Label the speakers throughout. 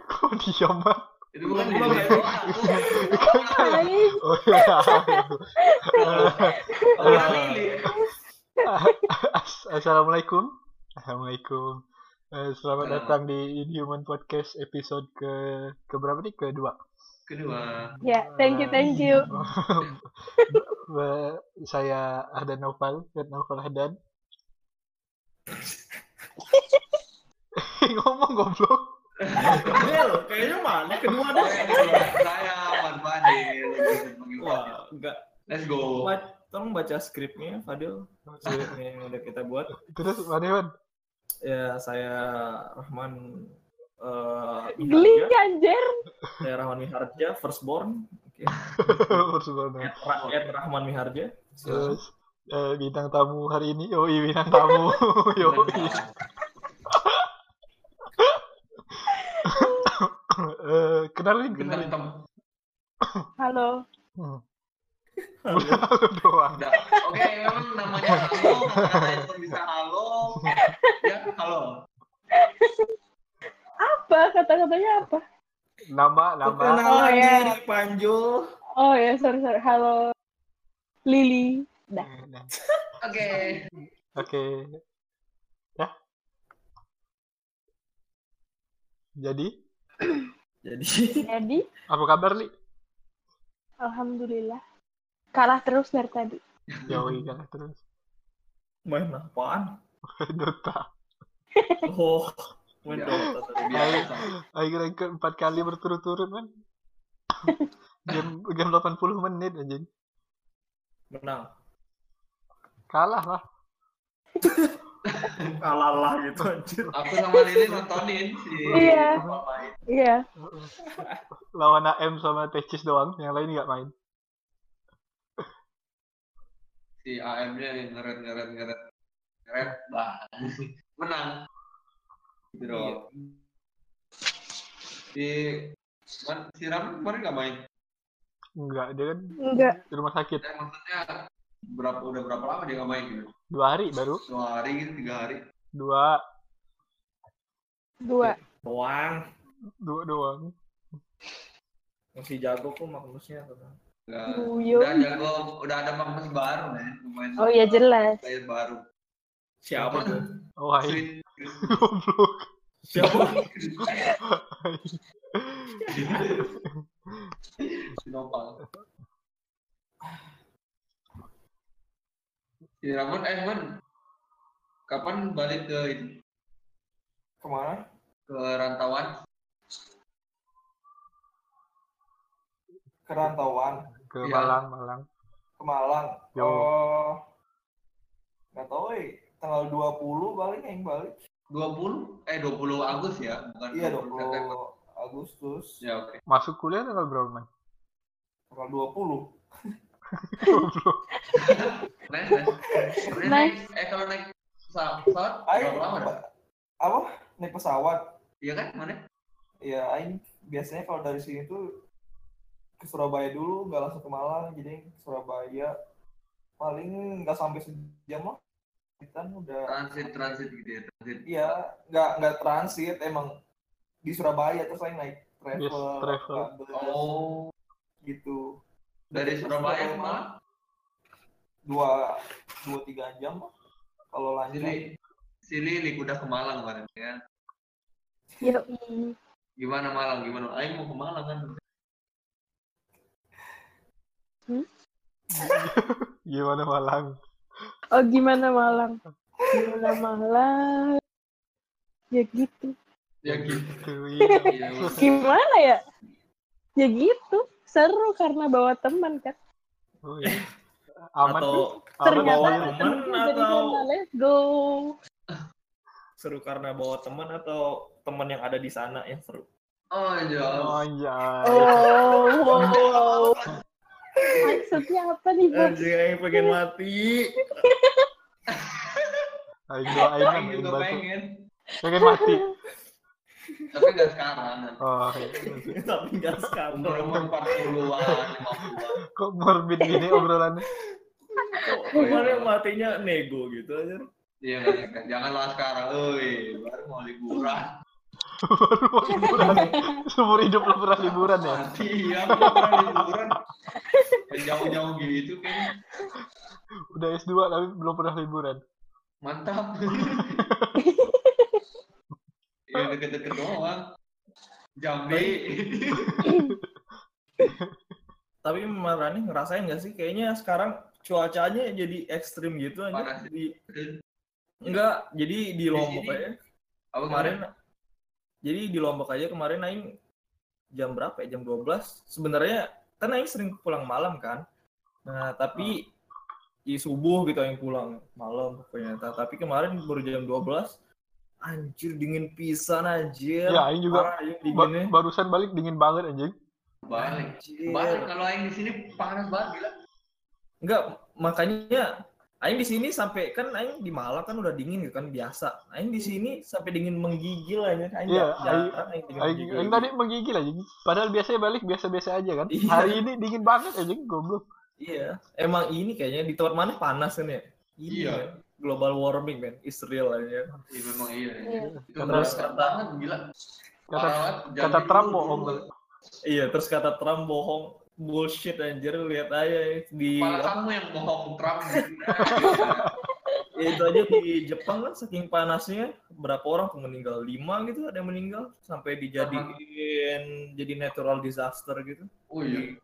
Speaker 1: diaman
Speaker 2: Itu bukan
Speaker 3: Bukan,
Speaker 2: bukan.
Speaker 3: bukan.
Speaker 4: Hai.
Speaker 1: oh iya
Speaker 2: Orang ini.
Speaker 1: As- assalamualaikum assalamualaikum Eh, selamat
Speaker 2: Nah.
Speaker 1: datang di Inhuman Podcast episode ke ke berapa nih kedua
Speaker 2: Kedua.
Speaker 4: Ya, thank you, thank you.
Speaker 1: Be- saya Ahdan Naufal dan Naufal Ahdan ngomong goblok
Speaker 3: Del, Iya kayaknya mana kedua deh.
Speaker 2: Saya Wan Fadil.
Speaker 3: Wah, enggak.
Speaker 2: Let's go.
Speaker 3: Ba- Tolong baca skripnya, Fadil. Skripnya yang udah kita buat.
Speaker 1: terus mana man
Speaker 3: Ya, saya Rahman eh,
Speaker 4: Geli
Speaker 3: Miharja.
Speaker 4: anjir.
Speaker 3: Saya Rahman Miharja, firstborn. Oke.
Speaker 1: Sebenarnya.
Speaker 3: At Ra- at Rahman Miharja.
Speaker 1: terus eh, bintang tamu hari ini yoi bintang tamu yoi Eh, kenalin
Speaker 2: Bentar,
Speaker 1: kenalin
Speaker 2: Tom.
Speaker 4: Halo.
Speaker 1: Hmm.
Speaker 3: Halo.
Speaker 1: Lu doang
Speaker 2: Udah. Oke, memang namanya halo, katanya cuma bisa halo. Ya, halo.
Speaker 4: Apa kata-katanya apa?
Speaker 1: nama nama
Speaker 4: Oh,
Speaker 3: Perkenalan
Speaker 4: ya.
Speaker 3: diri, Panjul.
Speaker 4: Oh ya, sorry sorry. Halo. Lili. Dah.
Speaker 2: Oke.
Speaker 1: oke ya jadi
Speaker 3: Jadi,
Speaker 4: Jadi,
Speaker 1: apa kabar li
Speaker 4: alhamdulillah kalah terus dari tadi.
Speaker 1: yoi kalah terus
Speaker 3: main apaan?
Speaker 1: Dota
Speaker 3: Oh, main Dota tadi.
Speaker 2: Biasa.
Speaker 1: akhir ikut empat kali berturut-turut man game game 80 menit aja
Speaker 3: Menang.
Speaker 1: kalah lah
Speaker 3: Kalah lah gitu, anjir.
Speaker 2: Aku sama Lili nontonin si
Speaker 4: Iya.
Speaker 2: Bapak itu.
Speaker 4: Iya.
Speaker 1: lawan AM sama Tecis doang yang lain nggak main
Speaker 2: si AM-nya yang ngeret ngeret ngeret ngeret bah menang gitu dong di man, si Ram kemarin nggak main
Speaker 1: nggak dia kan
Speaker 4: Enggak.
Speaker 1: di rumah sakit
Speaker 2: Eh, maksudnya berapa udah berapa lama dia nggak main gitu
Speaker 1: dua hari baru
Speaker 2: dua hari gitu tiga hari
Speaker 1: dua
Speaker 4: Dua.
Speaker 3: Doang.
Speaker 1: dua doang
Speaker 3: Masih jago kok Magnusnya. kata.
Speaker 2: nggak udah
Speaker 4: Guyon.
Speaker 2: jago udah ada Magnus baru nih pemain
Speaker 4: Oh ya jelas.
Speaker 2: player baru
Speaker 3: Siapa tuh?
Speaker 1: wah ini
Speaker 2: Sweet.
Speaker 1: goblok
Speaker 3: Siapa?
Speaker 2: Sinopal si Ramon eh man kapan balik ke ini
Speaker 3: Kemana?
Speaker 2: ke rantauan
Speaker 3: Kerantauan.
Speaker 1: ke
Speaker 2: Iya.
Speaker 1: Malang Malang
Speaker 3: Ke Malang.
Speaker 1: Yo.
Speaker 3: Oh. Gak tau eh. Tanggal 20 balik yang balik.
Speaker 2: 20 eh 20 Agus ya bukan
Speaker 3: Iya
Speaker 2: 20 September.
Speaker 3: 20 Agustus.
Speaker 2: ya oke
Speaker 1: masuk kuliah tanggal berapa man
Speaker 3: Tanggal 20.
Speaker 2: nice nice Kemudian
Speaker 4: Nice.
Speaker 2: naik- eh kalau naik pesawat pesawat
Speaker 3: Ayo.
Speaker 2: berapa lama dah?
Speaker 3: apa- Apa? Naik pesawat.
Speaker 2: iya kan mana
Speaker 3: Ya aing biasanya kalau dari sini tuh ke Surabaya dulu, nggak langsung ke Malang. Jadi Surabaya paling nggak sampai sejam lah. Kita udah
Speaker 2: transit transit gitu ya transit
Speaker 3: Iya, nggak nggak transit emang di Surabaya terus saya naik travel,
Speaker 1: Yes, travel.
Speaker 3: bus,
Speaker 2: oh
Speaker 3: gitu.
Speaker 2: dari
Speaker 3: Terus
Speaker 2: Surabaya ke
Speaker 3: Surabaya
Speaker 2: Malang
Speaker 3: Dua dua tiga jam lah. kalau lanjut. ya.
Speaker 2: sini sini Lik udah ke Malang kemarin ya
Speaker 4: Yoi.
Speaker 2: gimana Malang gimana Aing mau ke Malang kan
Speaker 1: gimana Malang
Speaker 4: Oh gimana malam? Gimana malam? Ya gitu.
Speaker 2: ya gitu
Speaker 1: iya.
Speaker 2: Iya, Mas.
Speaker 4: Gimana ya? Ya gitu. Seru karena bawa teman kan.
Speaker 1: Oh, iya. aman
Speaker 3: atau
Speaker 1: tuh aman
Speaker 4: Ternyata
Speaker 3: bawa
Speaker 1: tuh.
Speaker 3: teman
Speaker 4: temennya jadi
Speaker 3: atau-
Speaker 4: mana? Let's go.
Speaker 3: seru karena bawa teman atau teman yang ada di sana yang seru.
Speaker 2: oh
Speaker 1: oh
Speaker 2: jauh
Speaker 1: iya
Speaker 4: Oh, wow, wow. Maksudnya apa nih, Bos?
Speaker 3: Anjing yang pengen mati.
Speaker 1: ayo doain man
Speaker 2: Aing
Speaker 1: ayo
Speaker 2: juga
Speaker 1: bantu
Speaker 2: pengen
Speaker 1: pengen mati
Speaker 2: tapi nggak sekarang nanti
Speaker 1: oh iya.
Speaker 3: Tapi nggak sekarang.
Speaker 2: umur umur empat an lima an
Speaker 1: iya. kok morbid gini obrolannya
Speaker 3: Kemarin matinya nego gitu aja.
Speaker 2: Iya kan, janganlah sekarang, oi, baru mau liburan.
Speaker 1: Baru mau liburan. Seumur hidup lu pernah liburan ya?
Speaker 2: Iya, aku pernah liburan. Yang jauh-jauh gitu kayaknya.
Speaker 1: Udah S2 tapi belum pernah liburan.
Speaker 2: Mantap. ya deket-deket doang. Jambi.
Speaker 3: Tapi Marani ngerasain nggak sih? Kayaknya sekarang cuacanya jadi ekstrim gitu
Speaker 2: Parah
Speaker 3: aja.
Speaker 2: sih.
Speaker 3: Di, enggak, jadi di Lombok
Speaker 2: sini.
Speaker 3: aja.
Speaker 2: Apa kemarin?
Speaker 3: Kemarin,
Speaker 1: Iya.
Speaker 3: jadi di Lombok aja kemarin Aing jam berapa ya? Jam 12. Sebenarnya kan Aing sering pulang malam kan.
Speaker 1: Ah.
Speaker 3: Nah, tapi di subuh gitu Aing pulang malam pokoknya. Ta- Tapi kemarin baru jam 12. Anjir dingin pisan anjir.
Speaker 1: Ya, Aing juga
Speaker 3: Parah, ya. Aing
Speaker 1: Ba-
Speaker 3: dinginnya.
Speaker 1: barusan balik dingin banget anjing.
Speaker 2: Balik.
Speaker 3: Anjir.
Speaker 2: Balik kalau aing di sini panas banget gila.
Speaker 3: Enggak, makanya aing di sini sampai kan aing di Malang kan udah dingin gitu kan biasa. Aing di sini sampai dingin menggigil aja kan. Aing
Speaker 1: Iya,
Speaker 3: nggak-
Speaker 1: aing-
Speaker 3: jarang aing dingin
Speaker 1: Aing,
Speaker 3: menggigil.
Speaker 1: aing tadi menggigil anjing. Padahal biasanya balik biasa-biasa aja kan.
Speaker 3: Iya.
Speaker 1: Hari ini dingin banget anjing, goblok.
Speaker 3: Iya, emang ini kayaknya di tempat mana panas kan ya? Ini
Speaker 2: Iya.
Speaker 3: kan, global warming kan, Israel aja.
Speaker 2: Iya memang iya.
Speaker 4: Iya.
Speaker 2: Itu berasa
Speaker 3: Terus-
Speaker 2: banget gila.
Speaker 1: Kata
Speaker 2: Parah banget,
Speaker 1: kata
Speaker 2: Jambi
Speaker 1: Trump
Speaker 2: dulu,
Speaker 1: bohong.
Speaker 2: dulu.
Speaker 3: Iya, terus kata Trump bohong, bullshit anjir lihat aja ya. di
Speaker 2: Kepala kamu yang bohong Trump.
Speaker 3: Ya, itu aja di Jepang kan saking panasnya berapa orang tuh meninggal lima gitu ada yang meninggal sampai dijadiin jadi natural disaster gitu
Speaker 2: oh iya.
Speaker 3: Di-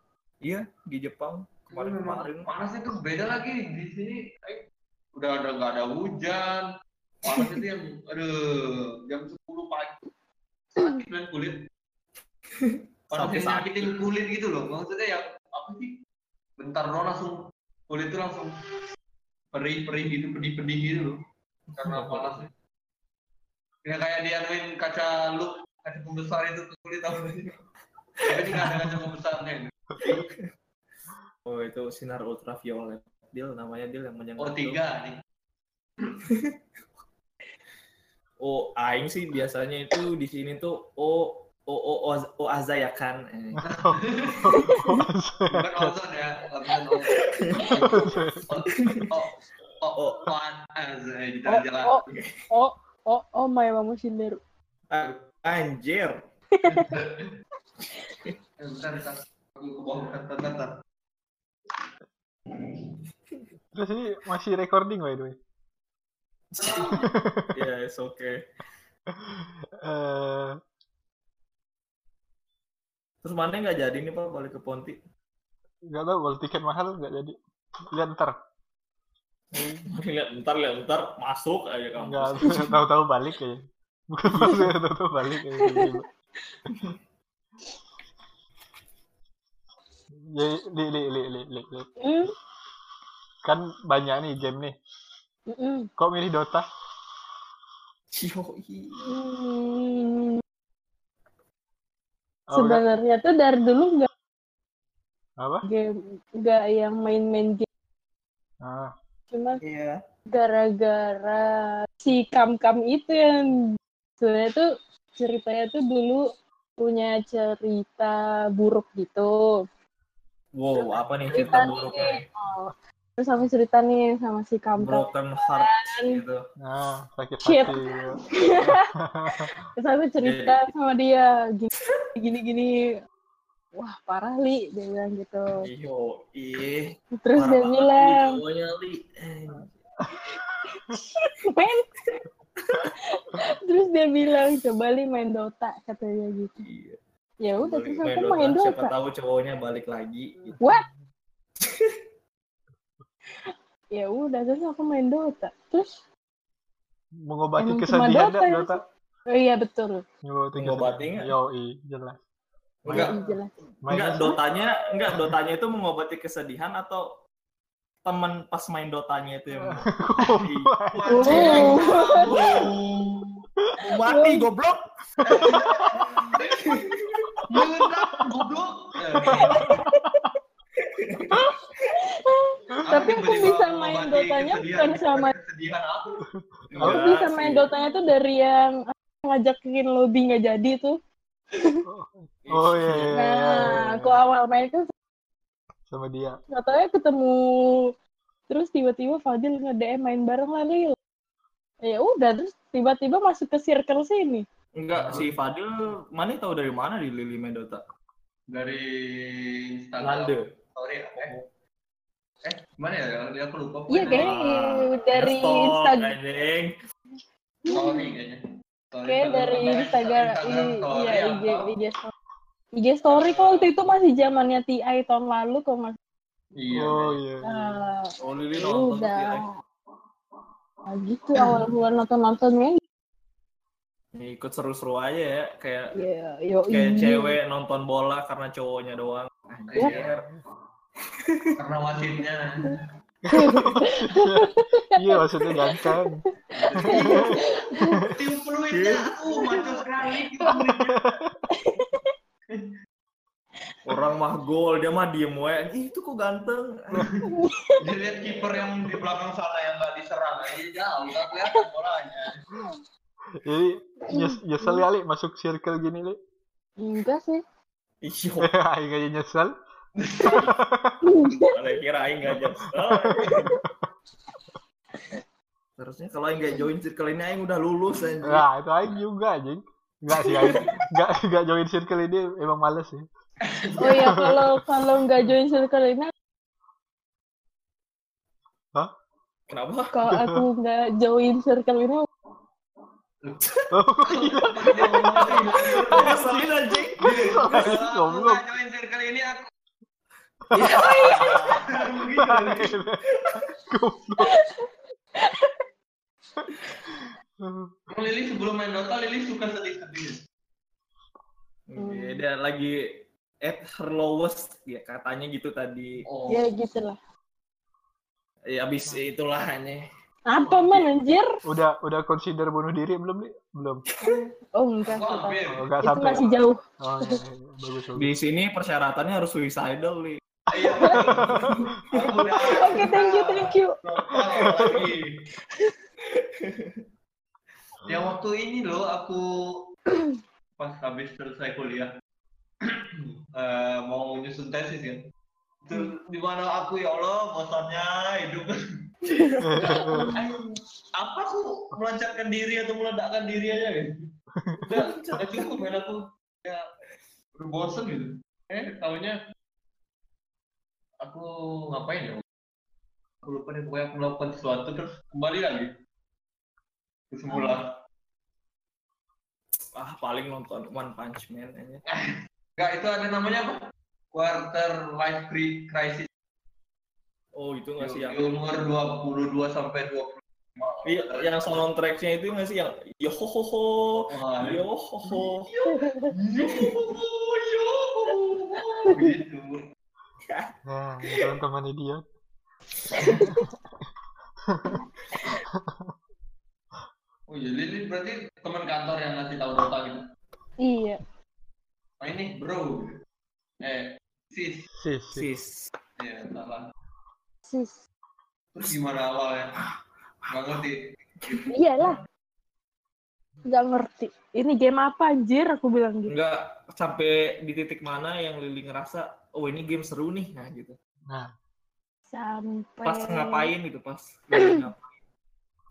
Speaker 3: iya di Jepang kemarin kemarin
Speaker 2: panasnya tuh beda lagi di sini eh, udah ada nggak ada hujan panasnya tuh yang aduh jam 10 pagi sakit kan kulit panasnya
Speaker 3: Sampai sakit.
Speaker 2: nyakitin kulit gitu loh maksudnya yang apa sih bentar doang langsung kulit tuh langsung perih perih gitu pedih pedih gitu loh
Speaker 3: Iya.
Speaker 2: karena panasnya ya kayak dianuin kaca lu kaca pembesar itu ke kulit tau gak sih? tapi nggak ada kaca pembesarnya
Speaker 3: oh itu sinar ultraviolet deal namanya deal yang menyangkut
Speaker 2: oh tiga nih
Speaker 3: oh aing sih biasanya itu di sini tuh oh, o o o o, o azayakan Eh,
Speaker 2: bukan ozon ya bukan ozon oh oh oh panas eh, kita
Speaker 4: Oh,
Speaker 2: jalan
Speaker 4: oh. Oh, oh, oh, my mama shinderu.
Speaker 3: ah, anjir
Speaker 2: Eh, bentar bentar aku ke bawah bentar bentar, bentar
Speaker 1: Terus ini masih recording by the way.
Speaker 3: ya it's okay
Speaker 1: Eh,
Speaker 3: terus mana nggak jadi nih pak balik ke Ponti
Speaker 1: nggak tahu kalau tiket mahal nggak jadi. Lihat ntar.
Speaker 3: Hmm. lihat ntar lihat ntar masuk aja kampus
Speaker 1: Nggak tahu-tahu balik aja. Bukan masuk tahu-tahu balik aja. Ya, li, li, li, li, li, li.
Speaker 4: Mm,
Speaker 1: Kan banyak nih game nih.
Speaker 4: mm, mm.
Speaker 1: Kok milih Dota?
Speaker 3: Yoi.
Speaker 4: Hmm,
Speaker 1: Oh, nggak-
Speaker 4: Sebenarnya tuh dari dulu nggak
Speaker 1: apa?
Speaker 4: game, nggak yang main-main game,
Speaker 1: Ah,
Speaker 4: cuma
Speaker 5: Iya.
Speaker 4: gara-gara si kam-kam itu yang sebenarnya tuh ceritanya tuh dulu punya cerita buruk gitu.
Speaker 3: Wow, apa nih
Speaker 4: Cerita
Speaker 3: cerita buruknya?
Speaker 4: Oh, terus sampai cerita nih sama si kam-kam.
Speaker 3: Broken heart gitu.
Speaker 1: ah, sakit
Speaker 4: Shit.
Speaker 1: hati.
Speaker 4: Terus aku
Speaker 3: Iya,
Speaker 4: cerita sama dia gini gini gini. Wah parah li dia bilang gitu.
Speaker 3: Yo, ih.
Speaker 4: Terus
Speaker 3: Iya, parah
Speaker 4: dia
Speaker 3: banget
Speaker 4: bilang,
Speaker 3: nih cowoknya, Li. Eh,
Speaker 4: main.
Speaker 3: gitu.
Speaker 4: terus dia bilang coba li main Dota katanya gitu.
Speaker 3: iya.
Speaker 4: Ya udah terus
Speaker 3: Main
Speaker 4: aku main
Speaker 3: Dota, Siapa
Speaker 4: Dota.
Speaker 3: tahu cowoknya balik lagi. gitu.
Speaker 4: What? Ya udah terus aku main Dota. Terus
Speaker 1: Mengobati
Speaker 4: Emang cuma
Speaker 1: kesedihan
Speaker 4: Dota
Speaker 1: dah,
Speaker 4: ya?
Speaker 1: Dota.
Speaker 4: oh iya betul.
Speaker 1: Mengobati
Speaker 3: Mengobati
Speaker 1: kesedihan.
Speaker 3: nggak?
Speaker 1: Yoi, jelas.
Speaker 3: Enggak,
Speaker 4: Iya, jelas.
Speaker 1: Main
Speaker 3: enggak dotanya, enggak dotanya itu mengobati kesedihan atau teman pas main dotanya itu yang
Speaker 4: Oh.
Speaker 3: mati goblok.
Speaker 2: meledak goblok Eh,
Speaker 4: Tapi aku
Speaker 2: tiba-tiba
Speaker 4: bisa main
Speaker 2: mengobati
Speaker 4: dotanya
Speaker 2: kesedihan,
Speaker 4: bukan sama-
Speaker 2: kesedihan aku
Speaker 1: Iya,
Speaker 4: Aku bisa main Dotanya tuh dari yang ngajakin lobby nggak jadi tuh.
Speaker 1: Oh iya, iya, iya, iya,
Speaker 4: Nah, aku
Speaker 1: iya.
Speaker 4: awal main tuh
Speaker 1: sama dia.
Speaker 4: nggak tahu ya ketemu terus tiba-tiba Fadil nge DM main bareng lah Lil ya udah terus tiba-tiba masuk ke circle sini
Speaker 3: Enggak, si Fadil mana tahu dari mana di Lili Mendota?
Speaker 2: dari Instagram
Speaker 3: Lande.
Speaker 2: story ya, eh eh mana ya dia aku lupa pokoknya.
Speaker 4: Iya kayaknya i- dari Instagram.
Speaker 3: Ah, anjing.
Speaker 2: story kayaknya Story
Speaker 4: Kayak
Speaker 3: Iya,
Speaker 2: Instagram,
Speaker 4: dari
Speaker 2: eh,
Speaker 4: Instagram,
Speaker 2: story
Speaker 4: i- iya IG,
Speaker 2: apa.
Speaker 4: IG story. IG story kok waktu itu masih zamannya TI tahun lalu kok mas.
Speaker 2: iya
Speaker 1: oh
Speaker 2: iya.
Speaker 1: iya.
Speaker 4: Eh,
Speaker 3: Oh, Lili
Speaker 4: ya
Speaker 3: Hmm. nonton
Speaker 4: udah.
Speaker 3: tapi, eh,
Speaker 4: Nah, gitu awal gua nonton nontonnya.
Speaker 3: ikut seru-seru aja ya, kayak
Speaker 4: Ya, yo
Speaker 3: kayak cewek nonton bola karena cowoknya doang.
Speaker 2: Iya.
Speaker 3: Anjir.
Speaker 2: karena wasitnya
Speaker 1: Iya maksudnya ganteng.
Speaker 2: tim fluidnya aku maju sekali gitu.
Speaker 3: Orang mah gol, dia mah diem we. Ih, itu kok ganteng.
Speaker 2: dilihat kiper yang di belakang sana yang nggak diserang aja jauh nggak kelihatan bolanya
Speaker 1: Jadi nyes- nyesel ya Li masuk circle gini Li.
Speaker 4: Enggak sih.
Speaker 3: Iyo,
Speaker 1: Aing aja nyesel.
Speaker 3: kalau kira aing nggak jadi. Terusnya kalau aing nggak join circle ini aing udah lulus anjing.
Speaker 1: Nah itu Aing juga anjing. Enggak sih Aing. Enggak enggak join circle ini emang males sih.
Speaker 4: Oh ya kalau kalau nggak join circle ini
Speaker 3: Kenapa?
Speaker 4: kalau aku nggak join circle ini
Speaker 1: Oh iya.
Speaker 3: Ngeselin anjing.
Speaker 2: Kalau aku
Speaker 1: Goblok.
Speaker 2: nggak join circle ini aku Emang Lili sebelum main Dota Lili suka sedih-sedih.
Speaker 3: Oke, dia lagi at her lowest ya katanya gitu tadi.
Speaker 2: Oh.
Speaker 4: ya gitulah.
Speaker 3: Ya abis itulah hanya.
Speaker 4: Apa man anjir?
Speaker 1: Udah udah consider bunuh diri belum Li? Belum.
Speaker 4: Oh enggak
Speaker 2: Wah,
Speaker 4: sudah.
Speaker 2: hampir.
Speaker 1: Oh, enggak
Speaker 4: Itu
Speaker 1: sampai.
Speaker 4: masih jauh.
Speaker 1: Oh iya, iya. bagus bagus.
Speaker 3: Di sini persyaratannya harus suicidal nih.
Speaker 2: Iya. Aku udah-
Speaker 4: Oke, thank you, thank you.
Speaker 2: Nopal lagi. Yang waktu ini loh aku pas habis selesai kuliah eh, mau nyusun tesis ya. Itu di mana aku ya Allah bosannya hidup. Ayo, apa aku melancarkan diri atau meledakkan diri aja gitu. Udah, udah cukup kan aku ya berbosan gitu. Eh, taunya aku ngapain ya? aku lupa nih pokoknya aku melakukan sesuatu terus kembali lagi ke semula
Speaker 3: Ah paling nonton One Punch Man aja.
Speaker 2: enggak itu ada namanya apa quarter life cri- crisis
Speaker 3: Oh itu nggak
Speaker 2: di
Speaker 3: sih yang
Speaker 2: di umur 22 sampai 25
Speaker 3: Iya, yang soundtracknya itu nggak sih yang yo ho ho ho
Speaker 2: Wah, iya.
Speaker 3: yo ho ho
Speaker 2: yo, yo, yo, gitu.
Speaker 1: Nah, teman-teman idiot.
Speaker 2: Oh iya, Lili berarti teman kantor yang ngasih tahu Dota gitu.
Speaker 4: Iya.
Speaker 2: Oh ini bro, eh sis,
Speaker 1: Sis. sis.
Speaker 3: sis.
Speaker 2: ya salah.
Speaker 4: Sis.
Speaker 2: Terus gimana awalnya? Gak ngerti.
Speaker 4: Iyalah. Gak ngerti. Ini game apa anjir aku bilang gitu.
Speaker 3: Enggak sampai di titik mana yang Lili ngerasa oh ini game seru nih nah gitu.
Speaker 4: Sampai
Speaker 3: Pas ngapain gitu pas lagi ngapain.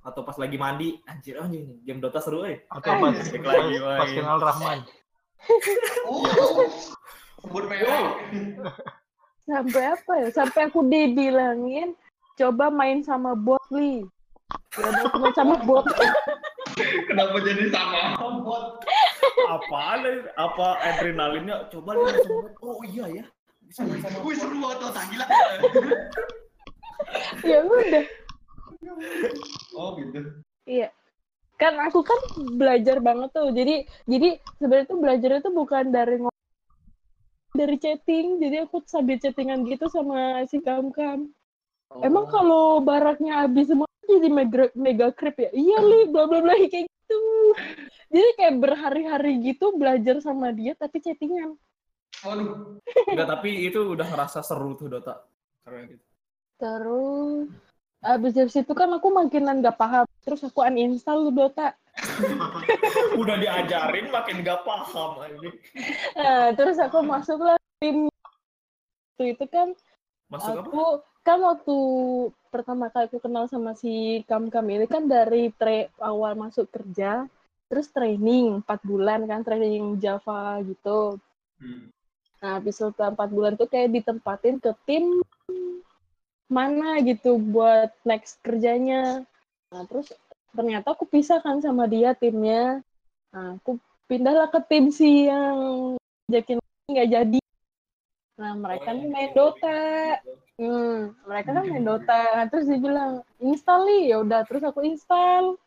Speaker 3: atau pas lagi mandi anjir anjing nih game Dota seru eh.
Speaker 1: Atau pas,
Speaker 3: Balik
Speaker 1: pas,
Speaker 3: lagi,
Speaker 1: pas
Speaker 3: woy.
Speaker 1: kenal Rahman.
Speaker 2: Oh, sebut merah.
Speaker 4: Sampai apa ya? Sampai aku dibilangin coba main sama bot li. Ya udah aku main sama bot.
Speaker 2: Kenapa jadi sama? Bot.
Speaker 3: Apaan eh? apa adrenalinnya coba lu langsung buat, oh iya ya. Bisa sama
Speaker 2: Wih seru banget tuh, gila.
Speaker 4: ya udah.
Speaker 2: Oh gitu.
Speaker 4: Iya. Kan aku kan belajar banget tuh. Jadi jadi sebenarnya tuh belajarnya tuh bukan dari ngomong dari chatting. Jadi aku sambil chattingan gitu sama si Kam Kam. Emang
Speaker 3: Oh.
Speaker 4: kalau baraknya habis semua jadi mega, mega creep ya? Iya li, bla bla bla kayak gitu. Jadi kayak berhari-hari gitu belajar sama dia tapi chattingan.
Speaker 2: Waduh.
Speaker 3: Enggak tapi itu udah ngerasa seru tuh Dota. Keren gitu.
Speaker 4: Terus abis dari situ kan aku makinan gak paham. Terus aku uninstall tuh Dota.
Speaker 3: Udah diajarin makin gak paham anjing.
Speaker 4: Nah, terus aku masuklah tim itu itu kan
Speaker 3: Masuk apa?
Speaker 4: aku kan waktu pertama kali aku kenal sama si Kam Kam ini kan dari tre awal masuk kerja terus training 4 bulan kan training Java gitu
Speaker 2: Hmm.
Speaker 4: nah habis setelah 4 bulan tuh kayak ditempatin ke tim mana gitu buat next kerjanya nah terus ternyata aku pisah kan sama dia timnya nah aku pindahlah ke tim si yang jakin nggak jadi nah
Speaker 3: Oh,
Speaker 4: mereka nih main Dota Hmm, mereka kan main Dota. Terus dia bilang, install nih. Ya udah, terus aku install.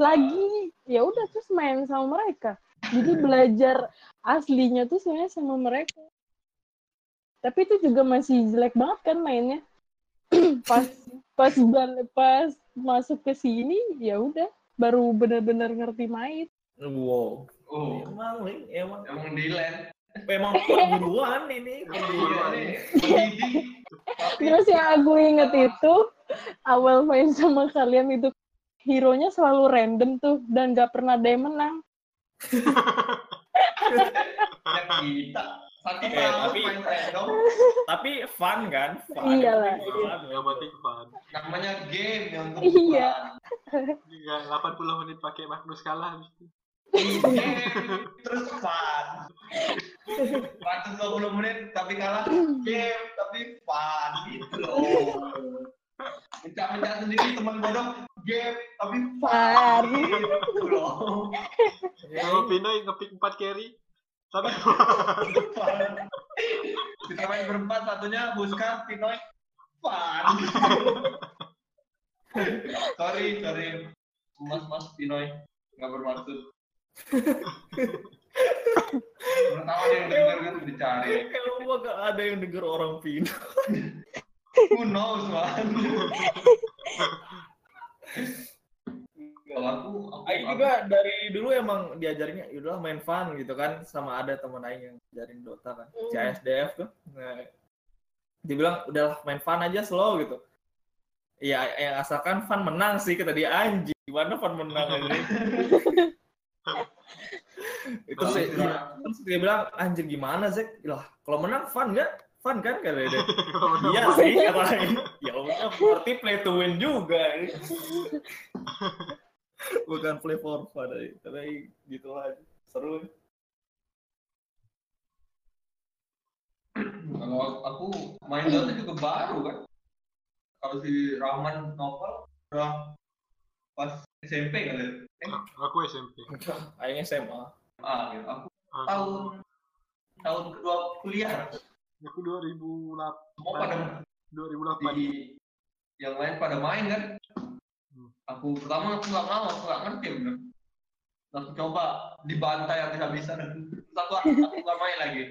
Speaker 4: Lagi, ya udah terus main sama mereka. Jadi belajar aslinya tuh sebenarnya sama mereka. Tapi itu juga masih jelek banget kan mainnya. pas pas bal- pas masuk ke sini, ya udah baru benar-benar ngerti main.
Speaker 3: Wow.
Speaker 2: Oh,
Speaker 3: Emang, Lin, emang
Speaker 2: emang Dylan.
Speaker 3: memang perguruan
Speaker 2: Iya
Speaker 3: ini. Perguruan
Speaker 2: nih,
Speaker 3: ini.
Speaker 2: pendidik. Tapi
Speaker 4: Terus yang aku inget itu awal main sama kalian itu hero-nya selalu random tuh dan gak pernah ada yang menang.
Speaker 2: ya kita. Satu
Speaker 3: Eh,
Speaker 2: tahun
Speaker 3: tapi-
Speaker 2: main random,
Speaker 3: Tapi fun kan? Fun.
Speaker 4: Iyalah.
Speaker 1: yang penting fun.
Speaker 2: namanya game yang
Speaker 4: Iya.
Speaker 1: Enggak, 80 menit pakai Magnus kalah habis itu.
Speaker 2: Game, Iya. terus fun. 120 menit tapi kalah game tapi fun gitu loh. Mencak-mencak sendiri teman bodoh game tapi fun
Speaker 4: Fun.
Speaker 2: gitu loh.
Speaker 1: Kalau Pinoy ngepick 4 carry. Tapi
Speaker 2: Fun. Kita main berempat satunya Buskar, Pinoy, fun. sorry, sorry. Mas-mas Pinoy nggak bermaksud. Pertama dia yang denger kan dicari.
Speaker 3: Kalau gua gak ada yang denger orang Pino.
Speaker 2: Who knows, man? Kalau aku, aku,
Speaker 3: Aing
Speaker 2: aku,
Speaker 3: juga dari dulu emang diajarinnya yaudah main fun gitu kan sama ada teman Aing yang diajarin Dota kan si
Speaker 4: Hmm.
Speaker 3: ASDF tuh nah, dia bilang udahlah main fun aja slow gitu Iya, yang asalkan fun menang sih kata dia anjing. Gimana fun menang anjing? itu
Speaker 2: Bagus,
Speaker 3: sih.
Speaker 2: Ra.
Speaker 3: Terus dia bilang anjir gimana Zek? Lah, kalau menang fun nggak? Fun kan kali dia. Iya sih, kata Aing. Ya udah, berarti play to win juga. Bukan play for fun, Aing. tapi Aing gitu lah. Seru.
Speaker 2: kalau aku main Dota juga baru kan. Kalau si Rahman novel udah pas SMP kali. ya. Eh,
Speaker 1: aku SMP.
Speaker 3: Aing SMA.
Speaker 2: ah, gitu. aku
Speaker 1: Ah,
Speaker 2: tahun tahun kedua kuliah.
Speaker 1: Aku 2008.
Speaker 2: Semua pada
Speaker 1: 2008.
Speaker 2: di yang lain pada main kan.
Speaker 1: Hmm.
Speaker 2: Aku pertama aku nggak mau, aku nggak ngerti bener. Terus Aku coba dibantai habis-habisan. Terus aku aku nggak main lagi.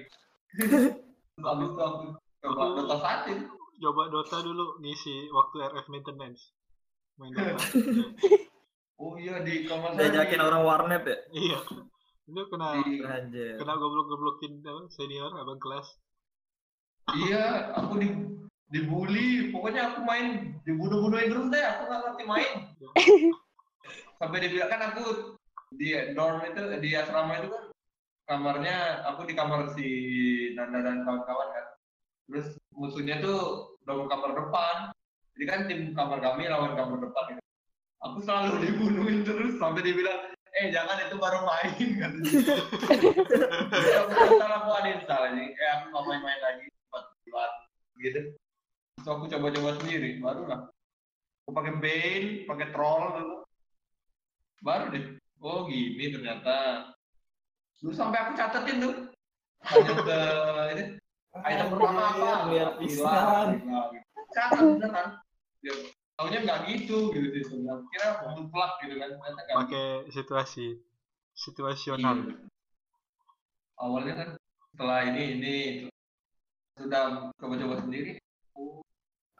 Speaker 2: Terus Abis itu aku coba
Speaker 1: Aku-
Speaker 2: Dota satu.
Speaker 1: Coba Dota dulu ngisi waktu RF maintenance. Main Dota.
Speaker 2: Oh iya di kamar saya.
Speaker 3: Diajakin
Speaker 2: di-
Speaker 3: orang warnet ya?
Speaker 1: Iya. Itu kena
Speaker 2: di-
Speaker 3: Anjir.
Speaker 1: kena goblok-goblokin apa, senior abang kelas.
Speaker 2: Iya, aku di dibully. Pokoknya aku main dibunuh-bunuhin terus deh. Aku nggak ngerti main. Sampai dibilang kan aku di dorm itu di asrama itu kan kamarnya aku di kamar si Nanda dan kawan-kawan kan. Terus musuhnya tuh dorm kamar depan. Jadi kan tim kamar kami lawan kamar depan gitu. Aku selalu dibunuhin terus sampai dibilang eh jangan itu baru main katanya. Jadi aku install aku uninstall aja. Eh aku nggak main-main lagi buat buat gitu. Terus aku coba-coba sendiri baru lah. Aku pakai Bane, pakai troll gitu. Baru deh. Oh gini ternyata. Dulu sampai aku catetin tuh. Lanjut ke ini. Item pertama apa?
Speaker 3: Lihat
Speaker 2: Gila,
Speaker 3: pisan.
Speaker 2: gila, gitu. Catat beneran. Ya, Taunya nggak gitu gitu sih. sebenarnya. Kira duplak gitu kan. Ternyata nggak gitu.
Speaker 1: Pakai situasi situasional.
Speaker 2: Iya. Awalnya kan setelah ini ini itu. sudah coba-coba sendiri.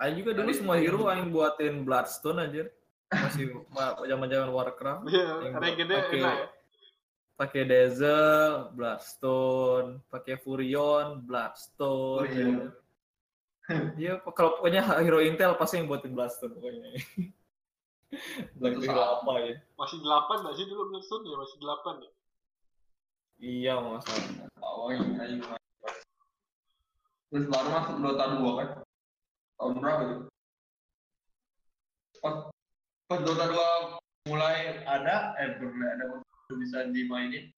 Speaker 3: Aing juga dulu semua hero Aing buatin Bloodstone anjir. Masih ma- zaman-zaman Warcraft.
Speaker 1: Iya, rankingnya
Speaker 3: Pakai-
Speaker 1: enak. ya.
Speaker 3: pakai Dazzle, Bloodstone, pakai Furion, Bloodstone.
Speaker 2: Oh, iya.
Speaker 3: Iya, po- kalau pokoknya hero Intel pasti yang buatin Bloodstone pokoknya. Black
Speaker 2: Itu
Speaker 3: Hero
Speaker 2: salah.
Speaker 3: apa ya?
Speaker 1: Masih 8 nggak sih dulu Bloodstone ya? Masih 8 ya?
Speaker 3: Iya, masalah.
Speaker 2: Oh iya, iya. Terus baru masuk Dota 2 kan. Tahun berapa itu? Pas, pas Dota 2 mulai ada, eh belum ada. Udah bisa dimainin.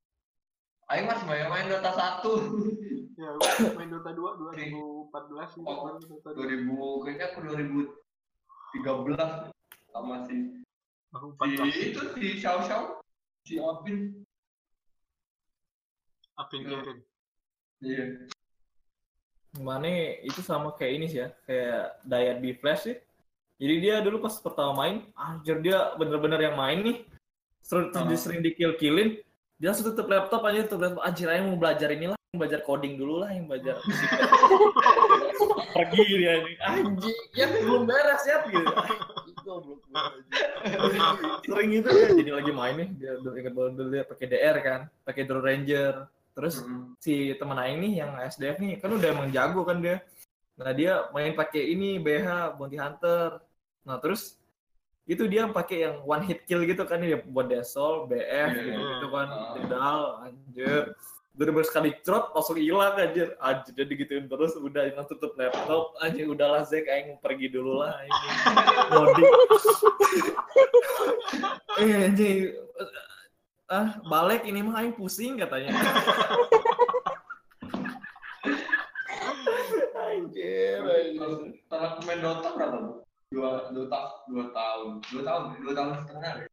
Speaker 2: Aing masih banyak main Dota 1.
Speaker 1: Ya, gua main Dota 2 2014 gitu
Speaker 2: Oh.
Speaker 1: kan Dota 2.
Speaker 2: 2000 kayaknya aku 2013 sama si
Speaker 1: Aku
Speaker 2: si
Speaker 1: 14
Speaker 2: itu si Xiao Xiao si Opin
Speaker 1: Apin Kierin.
Speaker 2: iya
Speaker 3: Mane itu sama kayak ini sih ya, kayak Dayat B Flash sih. Jadi dia dulu pas pertama main, anjir dia bener-bener yang main nih. Terus terus dia
Speaker 2: Ah.
Speaker 3: sering dikill-killin, dia langsung tutup laptop aja, tutup laptop. Anjir, ayo mau belajar inilah, yang belajar coding dulu lah, yang belajar fisika." Pergi dia ini. Anjir, ya belum beres ya. Gitu. Anjing, goblok gua, anjing. sering itu ya, jadi lagi main nih, dia dulu inget banget dulu dia pakai DR kan, pakai Draw Ranger. Terus
Speaker 2: Hmm.
Speaker 3: si teman Aing nih yang SDF nih kan udah emang jago kan dia. Nah dia main pakai ini BH Bounty Hunter. Nah terus itu dia yang pakai yang one hit kill gitu kan dia buat desol,
Speaker 2: Iya,
Speaker 3: BF gitu,
Speaker 1: iya.
Speaker 3: gitu kan.
Speaker 2: Ah.
Speaker 3: Dedal anjir. Bener-bener sekali crot langsung hilang anjir. Anjir jadi gituin terus udah Aing tutup laptop anjir udahlah Zek aing pergi dulu lah aing. Loading. eh anjir ah balik ini mah aing pusing katanya. Anjir, anjir.
Speaker 2: setelah aku main Dota berapa dua dua tahun dua tahun dua tahun dua tahun setengah deh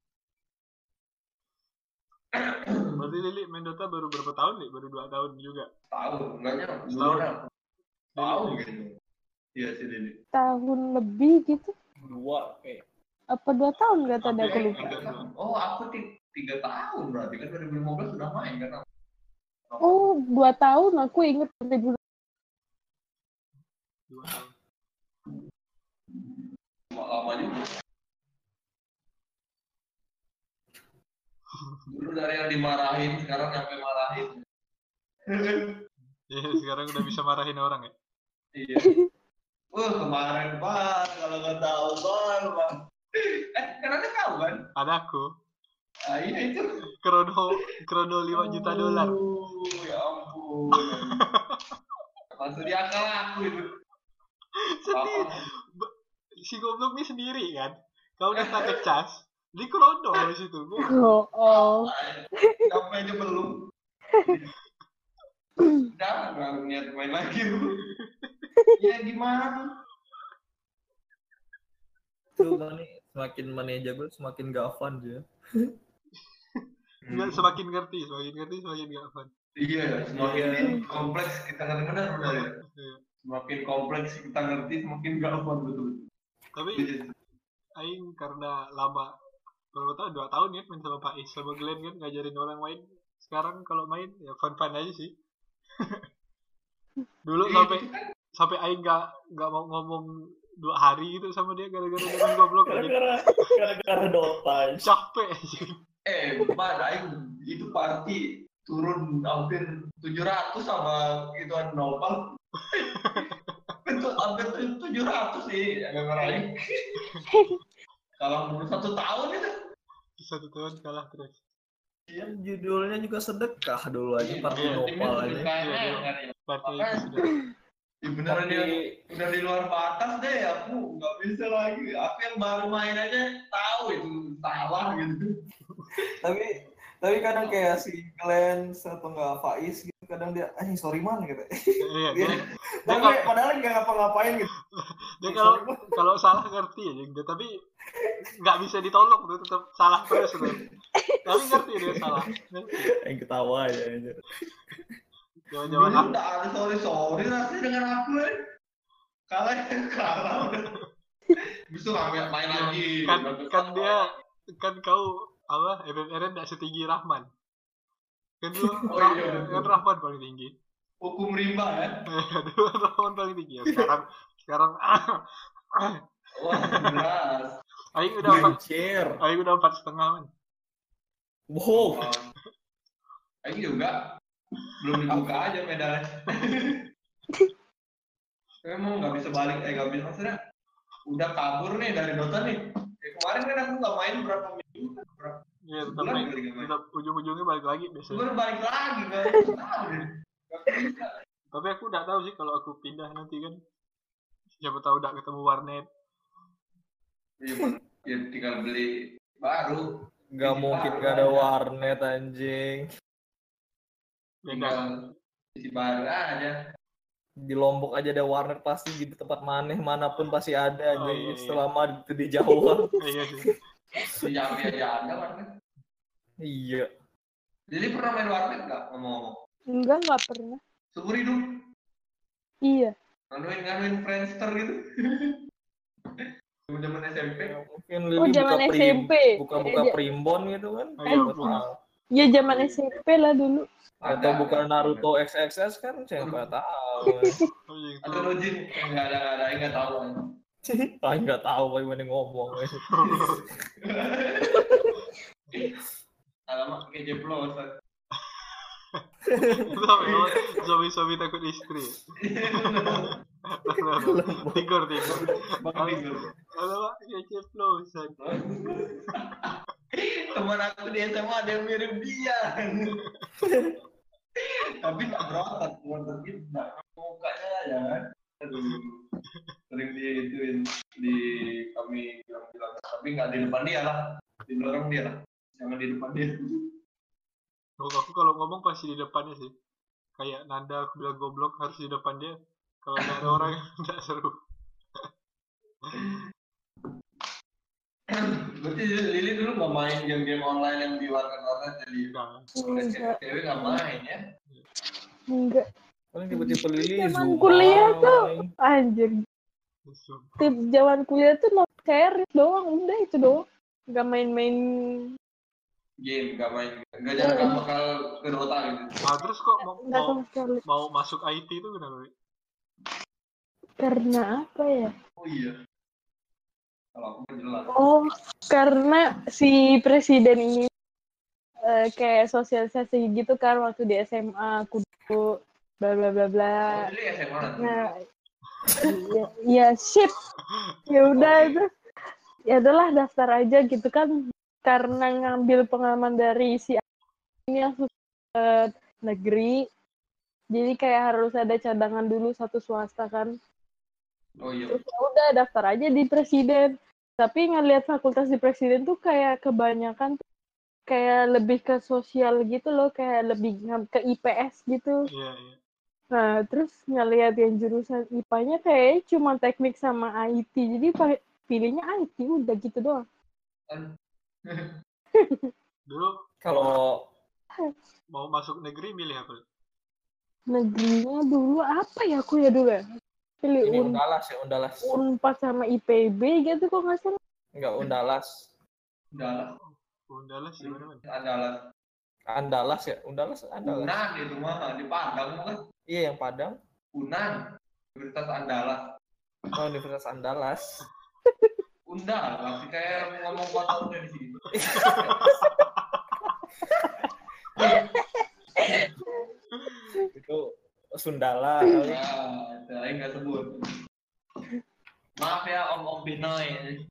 Speaker 1: Berarti Lili main Dota baru berapa tahun nih? Baru 2 tahun juga.
Speaker 2: tahun enggaknya
Speaker 1: Setahun.
Speaker 2: setahun tahun gitu iya sih Dini
Speaker 4: tahun lebih gitu
Speaker 3: Dua, eh.
Speaker 4: apa dua tahun gak tadi
Speaker 1: Oke,
Speaker 4: aku lupa
Speaker 1: oke.
Speaker 2: oh aku ti- tiga tahun berarti kan 2015 sudah main kan
Speaker 4: oh dua tahun aku inget 2000
Speaker 1: 2 tahun.
Speaker 2: lama lama juga dulu dari yang dimarahin sekarang nyampe marahin
Speaker 1: Iya, sekarang udah bisa marahin orang ya.
Speaker 2: Iya. Wah Uh, kemarin banget kalau nggak tahu bang, bang. Eh kenapa kamu kan?
Speaker 1: Ada aku.
Speaker 2: Ah, iya itu.
Speaker 1: Krono Krono 5 juta dolar.
Speaker 2: Aduh, Ya ampun. Masuk di akal aku itu.
Speaker 1: Sedih. Si goblok ini sendiri kan. Kau udah tak kecas. Di Krono di situ. Gua
Speaker 4: oh, oh.
Speaker 2: Sampai aja belum. Udah nggak niat main lagi. ya gimana?
Speaker 3: Tuh, Mane, semakin Mane jago, semakin gavan dia.
Speaker 1: nggak semakin ngerti, semakin ngerti semakin gak fun.
Speaker 2: Iya, semakin
Speaker 3: Iya.
Speaker 2: ini kompleks kita ngerti benar benar ya.
Speaker 1: Iya.
Speaker 2: Semakin kompleks kita ngerti, semakin gak awkward betul.
Speaker 1: Tapi aing karena lama berapa tahun dua tahun ya main sama Pak Is sama Glenn kan ngajarin orang main sekarang kalau main ya fun fun aja sih dulu sampai sampai aing nggak nggak mau ngomong dua hari gitu sama dia gara-gara dia main goblok aja
Speaker 3: gara-gara Dota.
Speaker 1: capek aja
Speaker 2: Eh, Pak, Aing itu pasti turun hampir 700 sama gituan nopal. itu hampir 700 sih, agak ngeraih. Kalau umur satu tahun itu.
Speaker 1: satu tahun kalah terus
Speaker 3: Yang judulnya juga sedekah dulu aja, partai
Speaker 2: Iya, timnya
Speaker 3: Nopal aja.
Speaker 2: sedekahnya
Speaker 1: Iya,
Speaker 2: yang ngeri.
Speaker 1: partai
Speaker 2: Makanya.
Speaker 1: itu sudah
Speaker 2: Ya, beneran
Speaker 3: Tapi,
Speaker 2: dia udah di luar batas deh aku nggak bisa lagi aku yang baru main aja tahu itu salah gitu
Speaker 5: tapi tapi kadang kayak si Glenn atau enggak Faiz gitu kadang dia eh sorry man gitu
Speaker 1: iya dia,
Speaker 5: Dan
Speaker 1: kalau-
Speaker 5: kayak- padahal nggak ngapa-ngapain gitu
Speaker 1: dia
Speaker 5: Eh,
Speaker 1: kalau
Speaker 5: sorry, Man.
Speaker 1: kalau salah ngerti aja gitu tapi nggak bisa ditolong tuh tetap salah terus tuh tapi ngerti dia salah
Speaker 3: yang ketawa ya. anjir.
Speaker 1: jaman-jaman
Speaker 2: dulu udah ada sorry sorry rasanya dengan aku eh. kalah ya kalah udah besok kami main lagi
Speaker 1: kan kan dia kan kau apa FMRN tidak setinggi Rahman kan lu
Speaker 2: Oh,
Speaker 1: Rah-
Speaker 2: iya, betul.
Speaker 1: kan Rahman paling tinggi
Speaker 2: hukum rimba ya
Speaker 1: dulu Rahman paling tinggi ya, sekarang sekarang
Speaker 2: wah jelas
Speaker 1: Aing
Speaker 2: Iya,
Speaker 1: udah empat
Speaker 3: Wheelchair.
Speaker 1: Aing Oh, iya, udah empat setengah man
Speaker 2: Oh.
Speaker 3: Wow.
Speaker 2: ini juga belum dibuka aja medalnya emang nggak bisa balik eh nggak bisa maksudnya udah kabur nih dari Dota nih Kayak kemarin kan aku nggak main berapa minggu kan, berapa
Speaker 1: ya tetap
Speaker 2: bulan
Speaker 1: main
Speaker 2: kali nggak main
Speaker 1: tetap ujung-ujungnya balik lagi biasanya
Speaker 2: baru balik lagi kan tahu deh
Speaker 1: tapi aku tidak tahu sih kalau aku pindah nanti kan siapa tahu tidak ketemu warnet
Speaker 2: Iya, Bang. ya tinggal beli baru
Speaker 3: Gak mungkin gak ada warnet anjing.
Speaker 2: Iya.
Speaker 1: Beda.
Speaker 2: di baru aja
Speaker 3: Di Lombok aja ada warnet pasti di tempat maneh manapun pasti ada
Speaker 1: Oh, iya,
Speaker 3: anjing.
Speaker 1: iya.
Speaker 3: Selama itu di Jawa.
Speaker 1: Iya sih.
Speaker 2: siapa aja ada warnet
Speaker 3: iya.
Speaker 2: jadi pernah main warnet nggak ngomong-ngomong
Speaker 4: Enggak, enggak pernah.
Speaker 2: seumur hidup
Speaker 4: Iya.
Speaker 2: nganuin nganuin friendster gitu zaman SMP
Speaker 3: Ya, Mungkin
Speaker 4: Oh,
Speaker 3: Lili buka
Speaker 4: zaman
Speaker 3: prim,
Speaker 4: SMP.
Speaker 3: buka-buka
Speaker 4: Iya,
Speaker 3: primbon gitu kan.
Speaker 1: Ayo,
Speaker 3: Buat
Speaker 1: Bun.
Speaker 3: orang.
Speaker 4: Ya zaman SMP lah dulu.
Speaker 3: Atau
Speaker 2: Ada,
Speaker 3: buka
Speaker 2: ada.
Speaker 3: Naruto XXS kan siapa tahu.
Speaker 1: Anjing,
Speaker 2: atau
Speaker 1: tuh.
Speaker 2: Nojin nggak ada nggak ada nggak tahu
Speaker 3: Ah nggak tahu bagaimana ngomong.
Speaker 2: alamak kayak jeblosan
Speaker 1: Itu apa ya? Suami-suami takut istri. Tigor, tigor. Oh,
Speaker 2: Bang Tigor.
Speaker 1: Halo, Pak. Ya, ceplosan.
Speaker 2: teman aku di SMA ada yang mirip dia tapi nggak berotot berotot gitu nggak mukanya aja kan Aduh. sering di ituin di kami bilang tapi nggak di depan dia lah di belakang dia lah jangan di depan dia
Speaker 1: Bokap aku kalau ngomong pasti di depannya sih. Kayak Nanda aku bilang goblok harus di depan dia. Kalau nggak ada orang nggak seru.
Speaker 2: berarti Lili dulu nggak main game-game online yang di warnet-warnet jadi
Speaker 1: Enggak.
Speaker 4: Enggak,
Speaker 2: cewek nggak main ya
Speaker 4: enggak.
Speaker 3: Paling tiba-tiba Lili
Speaker 4: Zaman
Speaker 3: zoom
Speaker 4: kuliah
Speaker 3: out,
Speaker 4: tuh.
Speaker 3: anjing.
Speaker 4: Anjir, tip zaman kuliah tuh no series doang, udah itu doang. Enggak main-main
Speaker 2: game nggak main nggak jarang nggak bakal ke Dota gitu
Speaker 1: Nah, terus kok mau,
Speaker 4: enggak
Speaker 1: mau,
Speaker 4: sama sekali.
Speaker 1: mau masuk IT itu kenapa? Wi?
Speaker 4: Karena apa ya?
Speaker 2: oh iya kalau aku kan jelas
Speaker 4: Oh, karena si presiden ini eh, kayak sosialisasi gitu kan waktu di SMA aku dulu bla bla bla bla.
Speaker 2: Oh, Lili SMA
Speaker 4: Nah, iya, iya shit. Ya udah itu. Ya adalah daftar aja gitu kan karena ngambil pengalaman dari si ini yang sus- eh, negeri. Jadi kayak harus ada cadangan dulu satu swasta kan.
Speaker 2: oh iya
Speaker 4: Terus ya udah daftar aja di presiden. Tapi ngelihat fakultas di presiden tuh kayak kebanyakan tuh kayak lebih ke sosial gitu loh, kayak lebih ngam- ke IPS gitu.
Speaker 1: Iya, iya.
Speaker 4: Nah, terus ngeliat yang jurusan IPA-nya kayaknya cuma teknik sama IT. Jadi pa- pilihnya IT udah gitu doang.
Speaker 2: Kan
Speaker 1: Dulu
Speaker 3: Kalau
Speaker 1: mau masuk negeri milih apa?
Speaker 4: Negerinya dulu apa ya aku ya dulu ya? Pilih
Speaker 3: ini
Speaker 4: un
Speaker 3: undalas ya undalas.
Speaker 4: Unpad sama IPB gitu kok nggak salah.
Speaker 3: Enggak undalas.
Speaker 2: Andalas,
Speaker 1: Undalas
Speaker 2: Hmm.
Speaker 1: sih mana mana.
Speaker 2: Andalas.
Speaker 3: Andalas ya, Undalas Andalas.
Speaker 2: Unan itu mah di Padang mah kan
Speaker 3: Iya yang Padang,
Speaker 2: Unan. Universitas Andalas.
Speaker 3: oh, Universitas Andalas.
Speaker 2: Undalas kayak ngomong kota udah di sini.
Speaker 3: Itu Sundala kali.
Speaker 2: Ya, saya nggak sebut. Maaf ya Om Om Pinoy.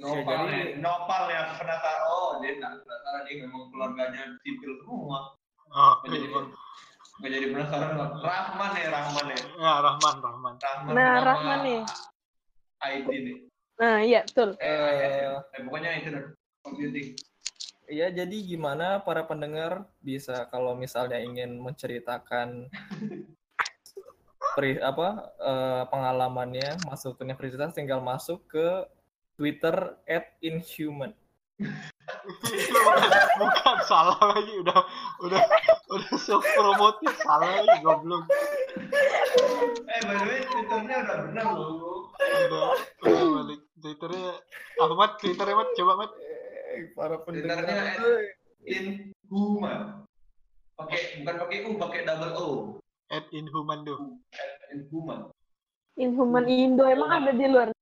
Speaker 2: Nopal ya,
Speaker 3: jadi-
Speaker 2: Nopal ya penasaran. Oh, dia nggak penasaran dia memang keluarganya sipil semua.
Speaker 1: Oh,
Speaker 2: Nggak jadi
Speaker 1: iya.
Speaker 2: nggak jadi penasaran. Rahman ya, Rahman ya.
Speaker 1: Ya, Rahman, Rahman.
Speaker 2: Rahman
Speaker 4: Nah,
Speaker 2: sama
Speaker 4: Rahman nih.
Speaker 2: IT nih.
Speaker 4: Nah, iya betul.
Speaker 2: Eh,
Speaker 3: Eh,
Speaker 2: eh, pokoknya itu deh. Computing.
Speaker 3: Iya, jadi gimana para pendengar bisa kalau misalnya ingin menceritakan peri- apa eh, pengalamannya masuk ke universitas tinggal masuk ke Twitter @inhuman.
Speaker 1: Itu bukan, bukan salah lagi udah udah udah self promote salah lagi goblok.
Speaker 2: Eh, by the way, Twitternya udah benar loh.
Speaker 1: Udah, udah balik Twitternya Ahmad Twitternya Ahmad coba Mat
Speaker 3: Eh, para pendengar.
Speaker 2: Twitternya In Human. Pakai bukan pakai U, pakai double O.
Speaker 1: at Inhumando.
Speaker 2: In Human.
Speaker 4: Inhuman Indo emang ada di luar.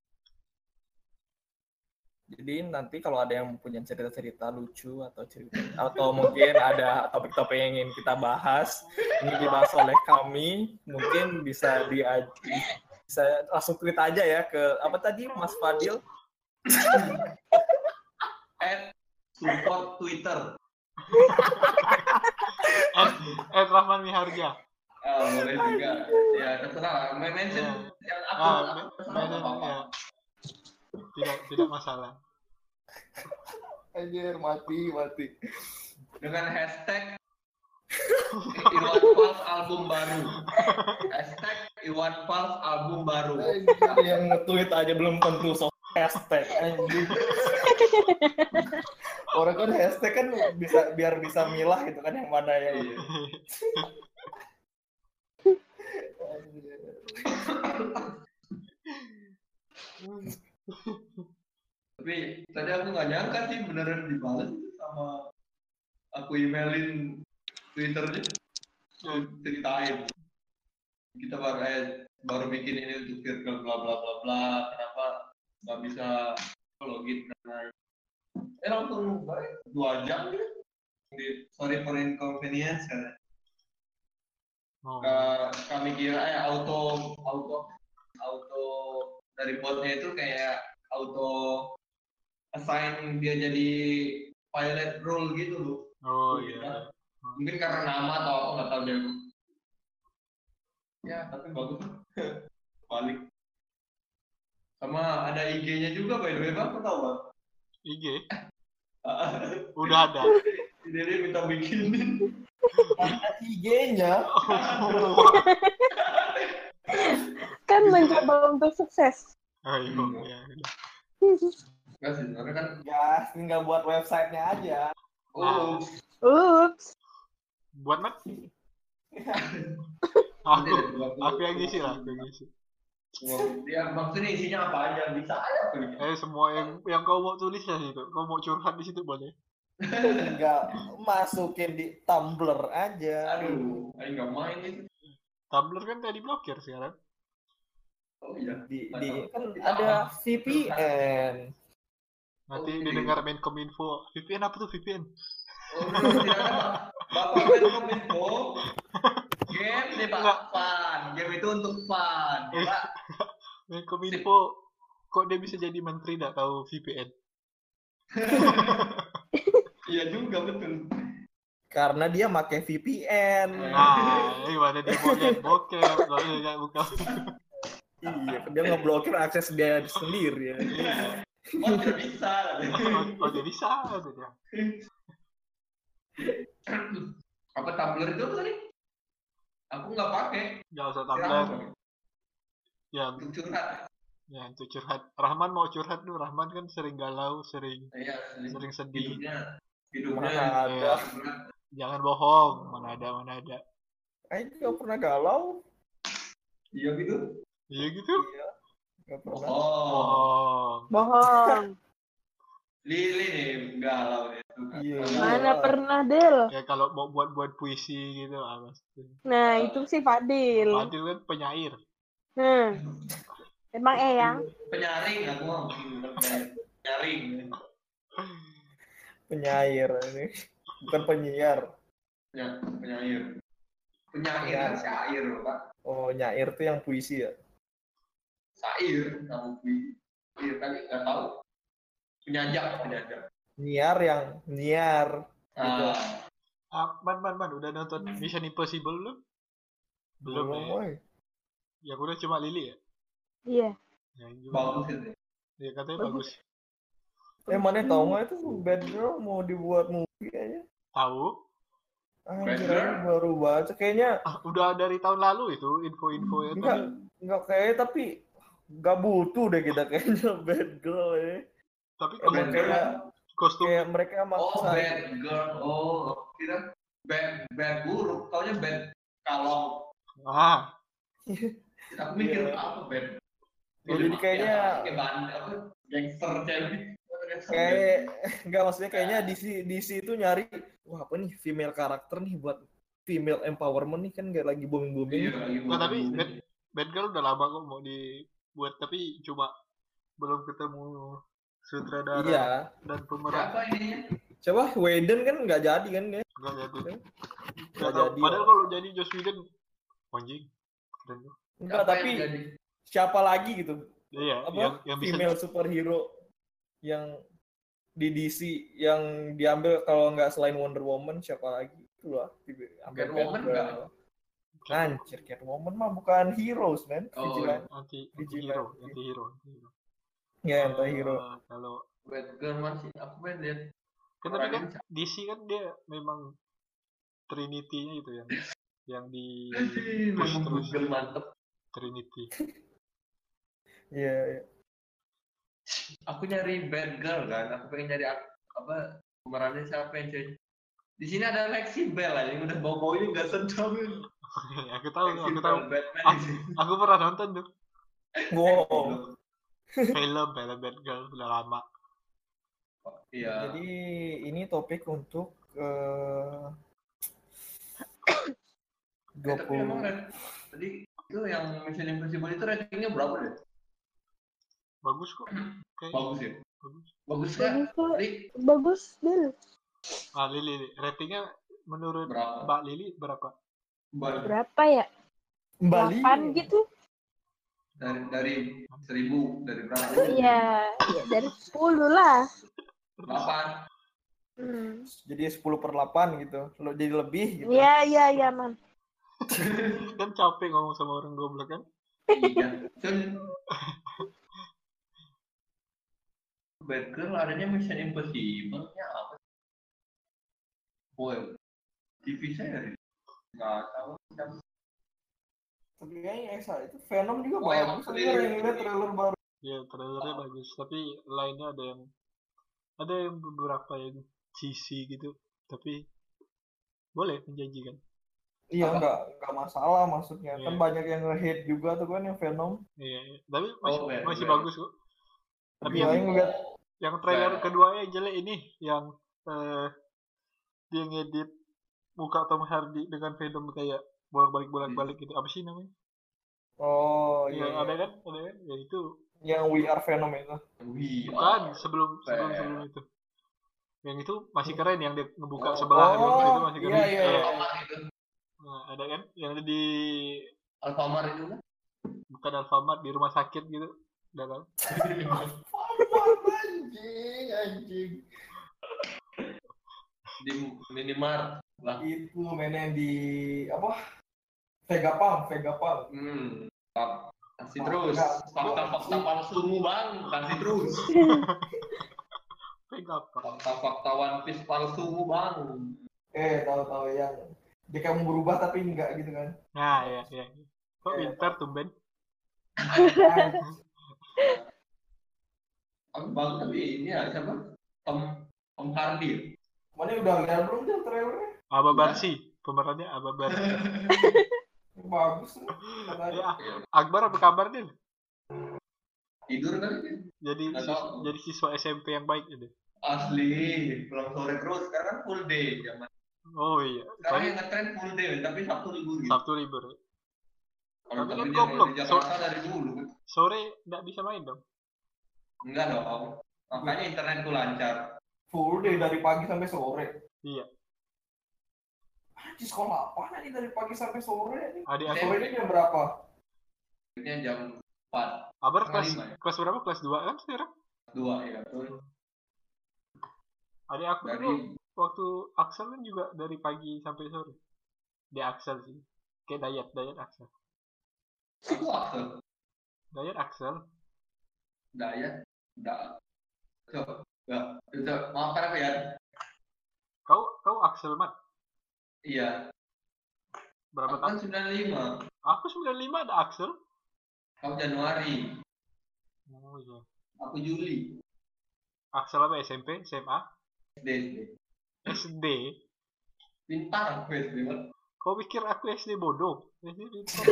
Speaker 3: Jadi nanti kalau ada yang punya cerita-cerita lucu atau cerita atau mungkin ada topik-topik yang ingin kita bahas, ini dibahas oleh kami, mungkin bisa di bisa langsung tweet aja ya ke apa tadi Mas Fadil?
Speaker 2: At support Twitter.
Speaker 1: At, at Rahman Miharja.
Speaker 2: Ah, boleh juga. Ya, terserah. Main mention yang aku.
Speaker 1: Ah,
Speaker 2: aku-
Speaker 1: mainan
Speaker 2: apa-apa.
Speaker 1: ya. tidak tidak masalah
Speaker 3: Anjir, mati, mati.
Speaker 2: dengan hashtag Iwan Fals album baru. Hashtag Iwan Fals album baru.
Speaker 3: Anjir,
Speaker 6: yang nge-tweet aja belum tentu so hashtag anjing. Orang kan hashtag kan bisa biar bisa milah gitu kan yang mana ya.
Speaker 2: Iya.
Speaker 3: anjir.
Speaker 2: Tapi tadi aku nggak nyangka sih beneran dibales sama aku emailin Twitternya ceritain kita baru eh, baru bikin ini untuk circle bla bla bla bla kenapa nggak bisa login karena eh langsung baik dua jam gitu Di- sorry for inconvenience kan? katanya.
Speaker 1: oh.
Speaker 2: Ka- kami kira eh auto auto auto dari botnya itu kayak auto assign dia jadi pilot role gitu loh
Speaker 1: oh
Speaker 2: mungkin
Speaker 1: iya
Speaker 2: kan. mungkin karena nama atau apa nggak tahu dia ya tapi bagus balik sama ada IG-nya juga by the way bang kau tahu bang
Speaker 1: IG udah ada
Speaker 2: dia dia minta bikinin
Speaker 3: Mana IG-nya?
Speaker 4: Kan mencoba untuk sukses.
Speaker 1: ayo ya udah.
Speaker 2: nggak sih sebenarnya kan
Speaker 3: Gas, tinggal buat websitenya aja.
Speaker 1: Ah,
Speaker 2: oh
Speaker 4: Ups.
Speaker 1: buat mat
Speaker 2: nanti ada
Speaker 1: aku
Speaker 2: dua puluh.
Speaker 1: aku yang ngisi lah aku yang ngisi
Speaker 2: dia Iya, maksudnya isinya apa aja bisa aja tuh
Speaker 1: eh semua yang yang kau mau tulis lah itu kau mau curhat di situ boleh
Speaker 3: Tinggal masukin di Tumblr aja.
Speaker 2: aduh ayo nggak main itu
Speaker 1: Tumblr kan tadi blokir sekarang
Speaker 2: oh iya
Speaker 3: Di, di kan ada VPN.
Speaker 1: nanti
Speaker 2: Oke.
Speaker 1: didengar Menkominfo VPN apa tuh VPN
Speaker 2: oh tidak ada Pak. bapak main kominfo game nih pak
Speaker 1: Nggak.
Speaker 2: fun game itu untuk fun ya, pak
Speaker 1: Menkominfo kok dia bisa jadi menteri tidak tahu VPN
Speaker 2: iya juga betul
Speaker 3: Karena dia pakai VPN.
Speaker 1: nah ini mana dia mau lihat bokep nggak boleh nggak buka
Speaker 6: Iya, dia ngeblokir akses dia sendiri ya.
Speaker 2: oh tidak bisa
Speaker 1: oh oh, dia bisa tuh dia
Speaker 2: apa tumblr itu apa tadi aku nggak pakai
Speaker 1: nggak usah
Speaker 2: Kira
Speaker 1: Tumblr
Speaker 2: apa?
Speaker 1: ya
Speaker 2: untuk curhat
Speaker 1: ya itu curhat Rahman mau curhat tuh Rahman kan sering galau sering
Speaker 2: iya
Speaker 1: sering sedih
Speaker 2: hidupnya hidupnya
Speaker 3: Mana ada?
Speaker 1: jangan bohong mana ada mana ada
Speaker 3: Aing nggak pernah galau.
Speaker 2: iya gitu
Speaker 1: iya gitu
Speaker 3: Iya. Nggak pernah.
Speaker 2: oh
Speaker 1: bohong
Speaker 4: Bohong.
Speaker 2: Lili nih galau nih suka.
Speaker 3: Iya.
Speaker 4: Mana pernah, Del?
Speaker 1: ya kalau mau buat buat puisi gitu ah pasti
Speaker 4: Nah, itu si Fadil.
Speaker 1: Fadil kan penyair
Speaker 4: Hmm. Emang eh, eyang?
Speaker 2: penyaring aku mah penyaring
Speaker 3: Penyair ini. Bukan penyiar.
Speaker 2: Penya- penyair penyair
Speaker 3: Iya.
Speaker 2: kan syair loh pak
Speaker 3: Oh, nyair tuh yang puisi ya.
Speaker 2: syair kamu syair kan nggak tahu penyajak penyajak
Speaker 3: Nyiar yang nyiar. Gitu.
Speaker 2: ah
Speaker 1: ah, man man man udah nonton Mission Impossible belum belum,
Speaker 3: Belum,
Speaker 1: ya?
Speaker 3: woy.
Speaker 1: ya udah cuma Lili ya
Speaker 4: Iya.
Speaker 1: ya, gimana?
Speaker 2: bagus itu
Speaker 1: ya katanya bagus
Speaker 4: Bagus.
Speaker 3: Eh, mana tau nggak itu Bad Girl mau dibuat movie aja.
Speaker 1: tahu
Speaker 3: Anjir,
Speaker 2: Bad Girl?
Speaker 3: aku baru baca. Kayaknya
Speaker 1: ah, udah dari tahun lalu itu info-info ya, itu
Speaker 3: nggak nggak kayak tapi nggak butuh deh kita kayaknya Bad Girl ini.
Speaker 1: tapi
Speaker 3: Eh,
Speaker 1: kostum,
Speaker 2: Bad Oh, Girl.
Speaker 3: kayak,
Speaker 1: kostum
Speaker 3: kayak mereka
Speaker 2: oh
Speaker 3: maksa. gitu.
Speaker 2: bad girl oh kira bad bad buruk taunya bad kalau
Speaker 1: ah
Speaker 2: aku mikir
Speaker 3: Iya.
Speaker 2: apa bad
Speaker 3: Oh, jadi kayaknya-
Speaker 2: kayak bahan- apa gangster cewek Gangster, bad.
Speaker 3: kayak nggak maksudnya kayaknya DC DC itu nyari wah apa nih female karakter nih buat female empowerment nih kan kayak lagi booming booming
Speaker 2: Iya, lagi
Speaker 1: Nah, tapi
Speaker 2: buru-buru.
Speaker 1: bad, bad girl udah lama kok mau dibuat tapi cuma belum ketemu sutradara
Speaker 3: iya
Speaker 1: dan pemeran
Speaker 2: Siapa ininya?
Speaker 3: coba Whedon kan nggak jadi kan ya
Speaker 1: nggak jadi
Speaker 3: Nggak
Speaker 1: nggak tahu.
Speaker 3: jadi,
Speaker 1: padahal
Speaker 3: ya.
Speaker 1: kalau jadi Joss Whedon anjing keren tuh
Speaker 3: enggak
Speaker 2: Siapa yang
Speaker 3: tapi
Speaker 2: jadi?
Speaker 3: siapa lagi gitu
Speaker 1: iya
Speaker 3: Apa?
Speaker 1: yang yang bisa
Speaker 3: female superhero yang di DC yang diambil kalau nggak selain Wonder Woman siapa lagi itu lah ambil
Speaker 2: Catwoman
Speaker 3: Batgirl.
Speaker 2: nggak?
Speaker 3: Anjir, Catwoman mah bukan heroes, man.
Speaker 2: Oh,
Speaker 3: Vigilant.
Speaker 1: anti anti
Speaker 3: Vigilante.
Speaker 1: hero anti hero anti hero
Speaker 2: Oh.
Speaker 3: ya antihero
Speaker 1: Eh, kalau
Speaker 2: Batgirl masih aku pengen lihat
Speaker 1: kan tapi kan DC kan dia memang Trinity-nya itu yang yang di terus
Speaker 2: memang
Speaker 1: terus
Speaker 2: Google mantep
Speaker 1: Trinity.
Speaker 3: iya iya.
Speaker 2: aku nyari bad girl kan aku pengen nyari ak- apa pemerannya siapa yang cewek di sini ada Lexi Bell aja yang udah bawa bawa ini nggak sedap ini.
Speaker 1: aku tahu,
Speaker 2: Lexi
Speaker 1: aku
Speaker 2: Bell,
Speaker 1: tahu.
Speaker 2: Batman
Speaker 1: Ah.
Speaker 2: di sini.
Speaker 1: Aku pernah nonton tuh
Speaker 3: wow
Speaker 1: film film Batgirl udah lama.
Speaker 2: iya
Speaker 3: jadi ini topik untuk eh
Speaker 2: Eh, tapi emang
Speaker 3: 20
Speaker 2: Ren, tadi itu yang Mission Impossible itu ratingnya berapa deh
Speaker 1: Bagus kok. Kayak
Speaker 2: bagus ya
Speaker 1: Bagus.
Speaker 2: bagus ya
Speaker 4: Bagus kok.
Speaker 2: Ri,
Speaker 4: Bagus, Del.
Speaker 1: ah, Lili, Lili. ratingnya menurut
Speaker 2: berapa
Speaker 1: Mbak Lili berapa?
Speaker 2: Ba-
Speaker 4: Berapa ya?
Speaker 3: Bali
Speaker 4: Delapan gitu?
Speaker 2: dari dari seribu dari berapa
Speaker 4: Iya, ya dari 10 lah.
Speaker 2: delapan
Speaker 4: Hmm.
Speaker 3: jadi 10 per 8 gitu Lo jadi lebih gitu
Speaker 4: Iya, iya, iya, Man.
Speaker 1: Kan capek ngomong sama orang goblok kan?
Speaker 2: iya Cun. bad girl adanya Mission Impossible nya apa Boy, TV series nggak tahu
Speaker 5: Tapi kayaknya
Speaker 3: eh,
Speaker 5: Exa itu Venom juga
Speaker 2: Oh, yang
Speaker 5: bagus. Saya
Speaker 3: Iya,
Speaker 2: sendiri.
Speaker 5: yang lihat trailer baru.
Speaker 1: Ya trailernya bagus, tapi lainnya ada yang ada yang beberapa yang cheesy gitu, tapi boleh menjanjikan.
Speaker 5: Iya
Speaker 2: Apa?
Speaker 5: nggak nggak masalah maksudnya. Kan
Speaker 1: Iya.
Speaker 5: banyak yang nge-hate juga tuh kan yang Venom.
Speaker 1: Iya, iya. tapi masih,
Speaker 2: Oh, iya,
Speaker 1: masih
Speaker 2: iya.
Speaker 1: bagus kok. Tapi
Speaker 5: Iya,
Speaker 1: yang,
Speaker 5: iya. ngeliat-
Speaker 1: yang trailer
Speaker 2: Iya.
Speaker 1: keduanya jelek ini, yang eh, dia ngedit muka Tom Hardy dengan Venom kayak bolak-balik bolak-balik
Speaker 2: Hmm.
Speaker 1: gitu. Apa sih namanya?
Speaker 5: Oh iya.
Speaker 1: Yang
Speaker 5: iya.
Speaker 1: ada kan, ada kan? Ya itu
Speaker 5: Yang We Are Venom itu.
Speaker 2: Wih,
Speaker 1: bukan
Speaker 2: ah.
Speaker 1: sebelum sebelum
Speaker 2: Iya.
Speaker 1: sebelum itu. Yang itu masih keren yang dia ngebuka
Speaker 2: Oh,
Speaker 1: sebelah
Speaker 5: oh,
Speaker 1: doang, itu masih
Speaker 5: iya,
Speaker 1: keren.
Speaker 5: iya, iya.
Speaker 2: Alfamart itu
Speaker 1: Nah, ada kan yang ada di
Speaker 2: Alfamart itu kan
Speaker 1: bukan Alfamart di rumah sakit gitu. Ada kan?
Speaker 5: anjing anjing.
Speaker 2: di minimart lah
Speaker 5: Itu mainnya yang di apa? Vegapunk, Vegapunk.
Speaker 2: hmm Pak, kasih terus
Speaker 5: Enggak.
Speaker 2: fakta-fakta palsumu bang kasih terus
Speaker 1: Pick up.
Speaker 2: fakta-fakta one piece palsumu bang
Speaker 5: Eh tahu-tahu yang dia kamu berubah tapi enggak gitu kan.
Speaker 1: Nah, ya, ya. Kok
Speaker 5: Iya.
Speaker 1: Winter tumben?
Speaker 2: aku bang tapi ini ya siapa Tom Tom Hardy
Speaker 5: Mana udah lihat belum tuh trailernya?
Speaker 1: Aba Barsi, pemerannya Aba Barsi.
Speaker 5: Bagus tuh. katanya.
Speaker 1: Ya, Akbar apa kabar nih?
Speaker 2: tidur kali ya? dia
Speaker 1: Jadi
Speaker 2: Nggak
Speaker 1: sis-
Speaker 2: tahu.
Speaker 1: jadi siswa SMP yang baik ini.
Speaker 2: asli pulang sore terus sekarang kan full day zaman
Speaker 1: Oh iya,
Speaker 2: sekarang
Speaker 1: Tadi
Speaker 2: yang ngetren full day tapi sabtu libur gitu
Speaker 1: Sabtu libur. ya.
Speaker 2: kalau
Speaker 1: Tapi
Speaker 2: tapi
Speaker 1: kan
Speaker 2: dia main
Speaker 1: goblok.
Speaker 2: di Jakarta dari dulu
Speaker 1: Sore nggak bisa main dong.
Speaker 2: enggak dong makanya internetku lancar
Speaker 5: Full day dari pagi sampai sore.
Speaker 1: Iya.
Speaker 5: Anjir sekolah apa nih dari pagi sampai sore nih?
Speaker 1: Adik aku,
Speaker 2: Iya.
Speaker 5: Sore ini jam berapa?
Speaker 2: ini jam 4
Speaker 1: Akbar
Speaker 2: Setengah
Speaker 1: kelas
Speaker 2: lima ya?
Speaker 1: kelas berapa? Kelas 2 kan sekarang?
Speaker 2: dua ya terus
Speaker 1: Adik aku dulu
Speaker 2: dari
Speaker 1: waktu Axel kan juga dari pagi sampai sore. Dia Axel sih. Kayak Dayat, Dayat Axel.
Speaker 2: aku Axel
Speaker 1: Dayat Axel.
Speaker 2: Dayat da coba enggak udah maafkan aku ya
Speaker 1: Kau kau Axel Mat.
Speaker 2: iya
Speaker 1: Berapa
Speaker 2: aku
Speaker 1: tahun?
Speaker 2: kan 95
Speaker 1: Aku 95 ada Axel.
Speaker 2: kamu Januari
Speaker 1: Oh iya.
Speaker 2: aku Juli
Speaker 1: Axel apa SMP, SMA,
Speaker 2: SD SD
Speaker 1: SD.
Speaker 2: pintar aku SD Bang.
Speaker 1: Kau pikir aku SD bodoh? SD pintar.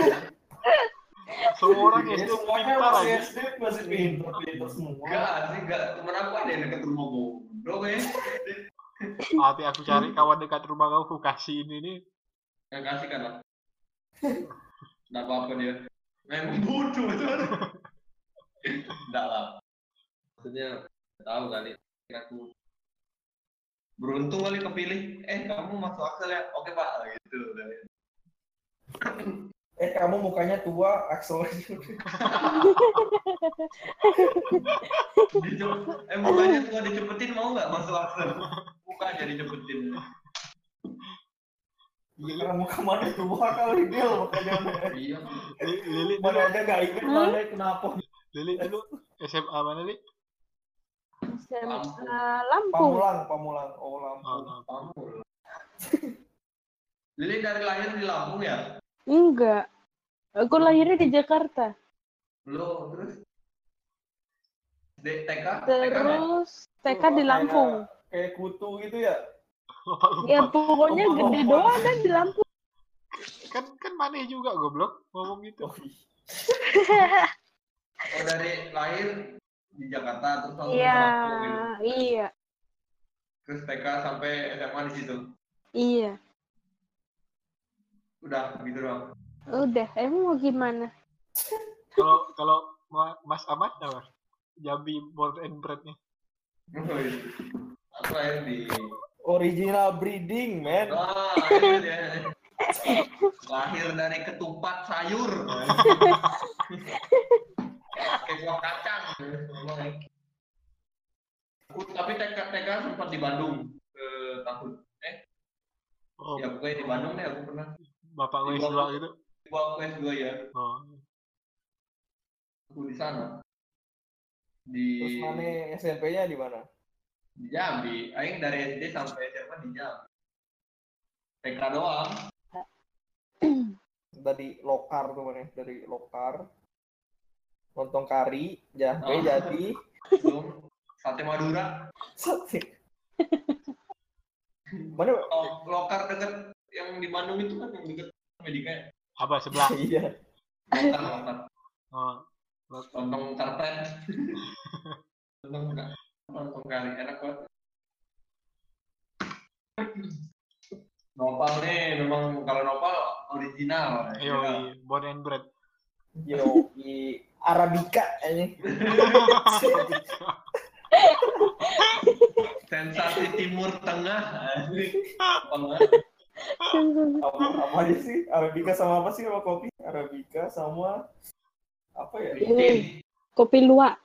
Speaker 1: Semua orang SD
Speaker 5: semuanya
Speaker 1: pintar
Speaker 5: masih
Speaker 1: aja.
Speaker 5: SD masih pinter pinter semua.
Speaker 2: enggak sih enggak temen aku ada yang deket rumah bodoh ya
Speaker 1: Nanti aku cari kawan dekat rumah kau, aku kasih ini nih.
Speaker 2: yang kasih kan lah enggak apa-apa dia memang bodoh itu enggak lah maksudnya nggak tahu kali aku beruntung kali kepilih eh kamu masuk akal ya oke pak gitu
Speaker 5: Eh kamu mukanya tua, Axel.
Speaker 2: Dijem- eh mukanya gua dicepetin mau nggak masuk akal mukanya dicepetin
Speaker 5: Iya karena muka mana tua kali dia makanya.
Speaker 2: iya
Speaker 1: Li- Lili
Speaker 5: Mana
Speaker 1: dulu,
Speaker 5: ada nggak ingat mana kenapa?
Speaker 1: Lili, lu SMA mana, Li?
Speaker 4: SMA
Speaker 2: Lampung.
Speaker 4: eh, Lampung.
Speaker 3: Pamulang, Pamulang, oh
Speaker 1: Oh,
Speaker 3: Lampung.
Speaker 1: oh.
Speaker 2: Lampung. Lili dari lahir di Lampung ya?
Speaker 4: Enggak. Aku lahirnya di Jakarta.
Speaker 2: Lo terus D- TK? TK mana?
Speaker 4: Terus TK di
Speaker 3: Kayak-
Speaker 4: Lampung.
Speaker 3: Kayak kutu gitu ya.
Speaker 1: Bapak lu
Speaker 4: Ya pokoknya
Speaker 3: Oh,
Speaker 4: gede
Speaker 3: oh,
Speaker 4: doang kan di Lampung.
Speaker 1: kan kan maneh juga goblok ngomong gitu.
Speaker 3: Oh, ih.
Speaker 2: Oh dari lahir di Jakarta terus langsung ke
Speaker 4: Iya,
Speaker 2: Lampung gitu.
Speaker 4: iya,
Speaker 2: Terus TK sampai SMA di situ.
Speaker 4: iya.
Speaker 2: Udah gitu doang.
Speaker 4: Udah, emang mau gimana?
Speaker 1: Kalau kalau Ma- Mas Ahmad apa? Jambi born and breadnya.
Speaker 2: Aku lahir di
Speaker 3: Original breeding, man.
Speaker 2: Wah, itu dia. lahir dari ketupat sayur. Pakai buah kacang. Aku, tapi TK TK sempat di Bandung eh, tahun
Speaker 1: Oh,
Speaker 5: Iya.
Speaker 2: ya pokoknya di Bandung deh aku pernah
Speaker 1: bapak gue
Speaker 2: Iya.
Speaker 1: dua gitu.
Speaker 2: di bawah S2 ya
Speaker 1: Oh.
Speaker 2: aku di sana
Speaker 1: Iya.
Speaker 2: di
Speaker 3: Terus mana ya? SMP-nya di mana?
Speaker 2: di Jambi aing dari SD sampai SMA di Jambi TK doang
Speaker 3: Dari Lokar tuh mana? Dari Lokar. Lontong kari, jahe
Speaker 1: Ah.
Speaker 2: Oh.
Speaker 3: jadi.
Speaker 2: belum sate Madura
Speaker 3: Sate. mana?
Speaker 2: Oh, lokar deket yang di Bandung itu kan yang deket Medika ya
Speaker 1: Apa sebelah?
Speaker 3: Iya.
Speaker 2: lokar lokar
Speaker 1: Oh.
Speaker 2: lontong karpet lontong ka- lontong kari enak banget nopal nih memang kalau nopal original
Speaker 5: Iya.
Speaker 2: ya.
Speaker 1: Yo, born and bred.
Speaker 3: Yo, i Arabica ini.
Speaker 2: sensasi timur tengah Apa?
Speaker 3: Apa, apa aja sih? Arabica sama apa sih sama kopi? Arabica sama apa ya?
Speaker 2: Bikin.
Speaker 4: Kopi luwak.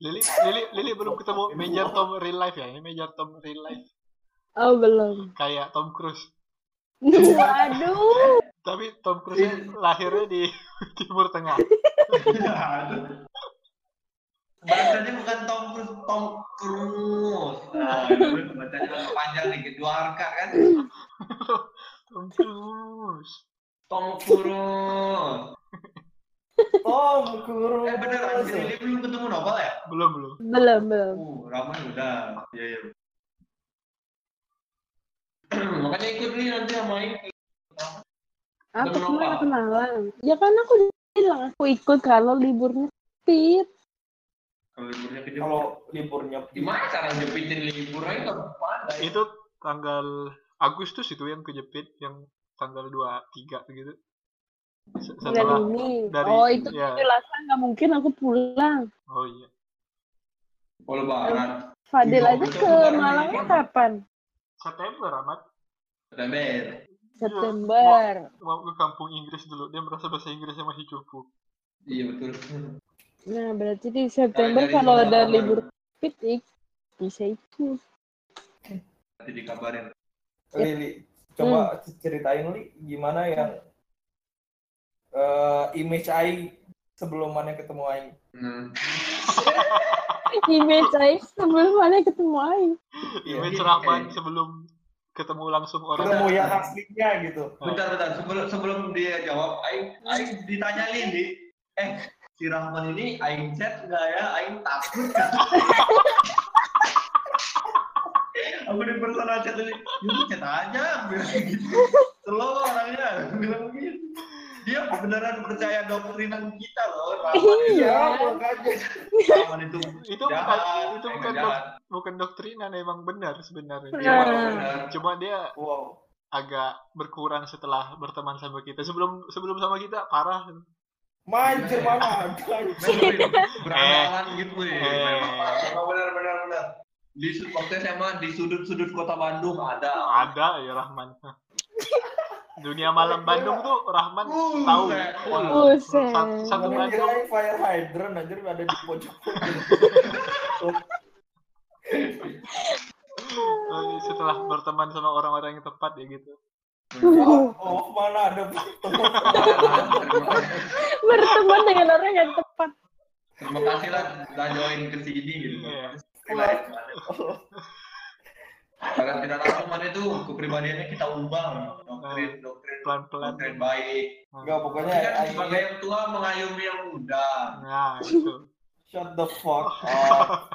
Speaker 1: Lili, Lili, Lili belum ketemu Major Tom real life ya? Ini Major Tom real life
Speaker 4: Oh, belum.
Speaker 1: kayak Tom Cruise.
Speaker 4: Waduh.
Speaker 1: Tapi Tom Cruise lahirnya di Timur Tengah.
Speaker 2: Iya, Bacanya bukan Tom Cruise, Tom Cruise. Nah, itu bacanya agak panjang dikit, dua harga kan?
Speaker 1: Tom Cruise.
Speaker 2: Tom Cruise.
Speaker 3: Tom Cruise.
Speaker 2: Eh bener, anjir ini belum ketemu Nobel ya?
Speaker 1: Belum, belum.
Speaker 4: Belum, belum.
Speaker 2: Uh, Ramai udah. Iya, iya. Makanya ikut nih nanti sama ini.
Speaker 4: Aku
Speaker 2: Belum,
Speaker 4: kemarin
Speaker 2: Pak.
Speaker 4: ke Malang. Ya kan aku bilang aku ikut kalau liburnya sempit.
Speaker 2: Kalau liburnya ke Jepang.
Speaker 3: Kalau liburnya
Speaker 2: Gimana cara jepitin libur aja nggak pandai.
Speaker 1: Itu tanggal Agustus itu yang kejepit yang tanggal 23 gitu. Se-
Speaker 4: Bulan
Speaker 1: Setelah
Speaker 4: ini.
Speaker 1: dari-
Speaker 4: oh, itu
Speaker 1: ya.
Speaker 4: penjelasan nggak mungkin aku pulang.
Speaker 1: Oh iya.
Speaker 2: Kalau lebaran.
Speaker 4: Fadil
Speaker 2: Iya,
Speaker 4: aja
Speaker 2: betul,
Speaker 4: ke
Speaker 2: Lebaran
Speaker 4: Malangnya
Speaker 2: ini.
Speaker 4: kapan?
Speaker 1: September amat
Speaker 2: September.
Speaker 4: September.
Speaker 1: mau ke kampung Inggris dulu. Dia merasa bahasa Inggrisnya masih cukup.
Speaker 2: Iya betul.
Speaker 4: Nah, berarti di September
Speaker 2: Cari-cari
Speaker 4: kalau
Speaker 2: jalan
Speaker 4: ada
Speaker 2: keluar.
Speaker 4: libur sempit, ik- bisa ikut.
Speaker 2: Nanti dikabarin.
Speaker 3: Lili, coba ceritain Li gimana yang eh, image Aing sebelum mana ketemu Aing.
Speaker 2: Hmm.
Speaker 4: Image saya sebelum mana ketemu Aing.
Speaker 1: Image
Speaker 2: Iya.
Speaker 1: Rahman sebelum ketemu langsung orang.
Speaker 3: Ketemu yang aslinya gitu.
Speaker 2: Bentar, bentar. Sebelum sebelum dia jawab, Aing, Aing ditanya Lili, eh si Rahman ini Aing chat nggak ya? Aing takut. Aku di personal chat ini, "Ya, chat aja, Aku bilang gitu. Slow orangnya, Aku bilang gitu. Dia beneran percaya doktrinan kita loh, Rahman.
Speaker 4: Iya.
Speaker 3: makanya.
Speaker 2: Rahman itu
Speaker 1: Itu bukan
Speaker 2: jahat,
Speaker 1: itu
Speaker 2: Aing
Speaker 1: bukan dok,
Speaker 2: jahat.
Speaker 1: bukan doktrinan emang benar sebenarnya.
Speaker 2: Iya,
Speaker 1: Cuma-
Speaker 2: bener.
Speaker 1: Cuma dia
Speaker 3: Wow.
Speaker 1: agak berkurang setelah berteman sama kita. Sebelum sebelum sama kita parah.
Speaker 3: Manjir mana ada.
Speaker 2: Berantalan gitu ya.
Speaker 1: Eh.
Speaker 2: Memang benar benar benar. Di sud- waktu SMA di sudut-sudut kota Bandung ada.
Speaker 1: Ada ya Rahman. Dunia malam Bandung tuh Rahman
Speaker 2: Buset.
Speaker 1: tahu. ya.
Speaker 2: Wah.
Speaker 4: Buset.
Speaker 1: Satu, satu
Speaker 3: Mana kira
Speaker 1: Bandung
Speaker 3: Aing fire hydrant anjir ada di pojok.
Speaker 1: eh, setelah berteman sama orang-orang yang tepat ya gitu.
Speaker 4: Iya.
Speaker 3: Oh, mana ada.
Speaker 4: berteman dengan orang yang tepat.
Speaker 2: Terima kasih lah udah join ke sini gitu.
Speaker 1: Iya.
Speaker 2: Relax. Karena tidak langsung mana itu kepribadiannya kita ubah doktrin doktrin
Speaker 1: Nah. pelan-pelan.
Speaker 2: doktrin baik.
Speaker 5: Enggak, pokoknya
Speaker 2: Kita kan
Speaker 5: I-
Speaker 2: sebagai yang tua mengayomi yang muda.
Speaker 1: Nah, itu.
Speaker 5: shut the fuck up.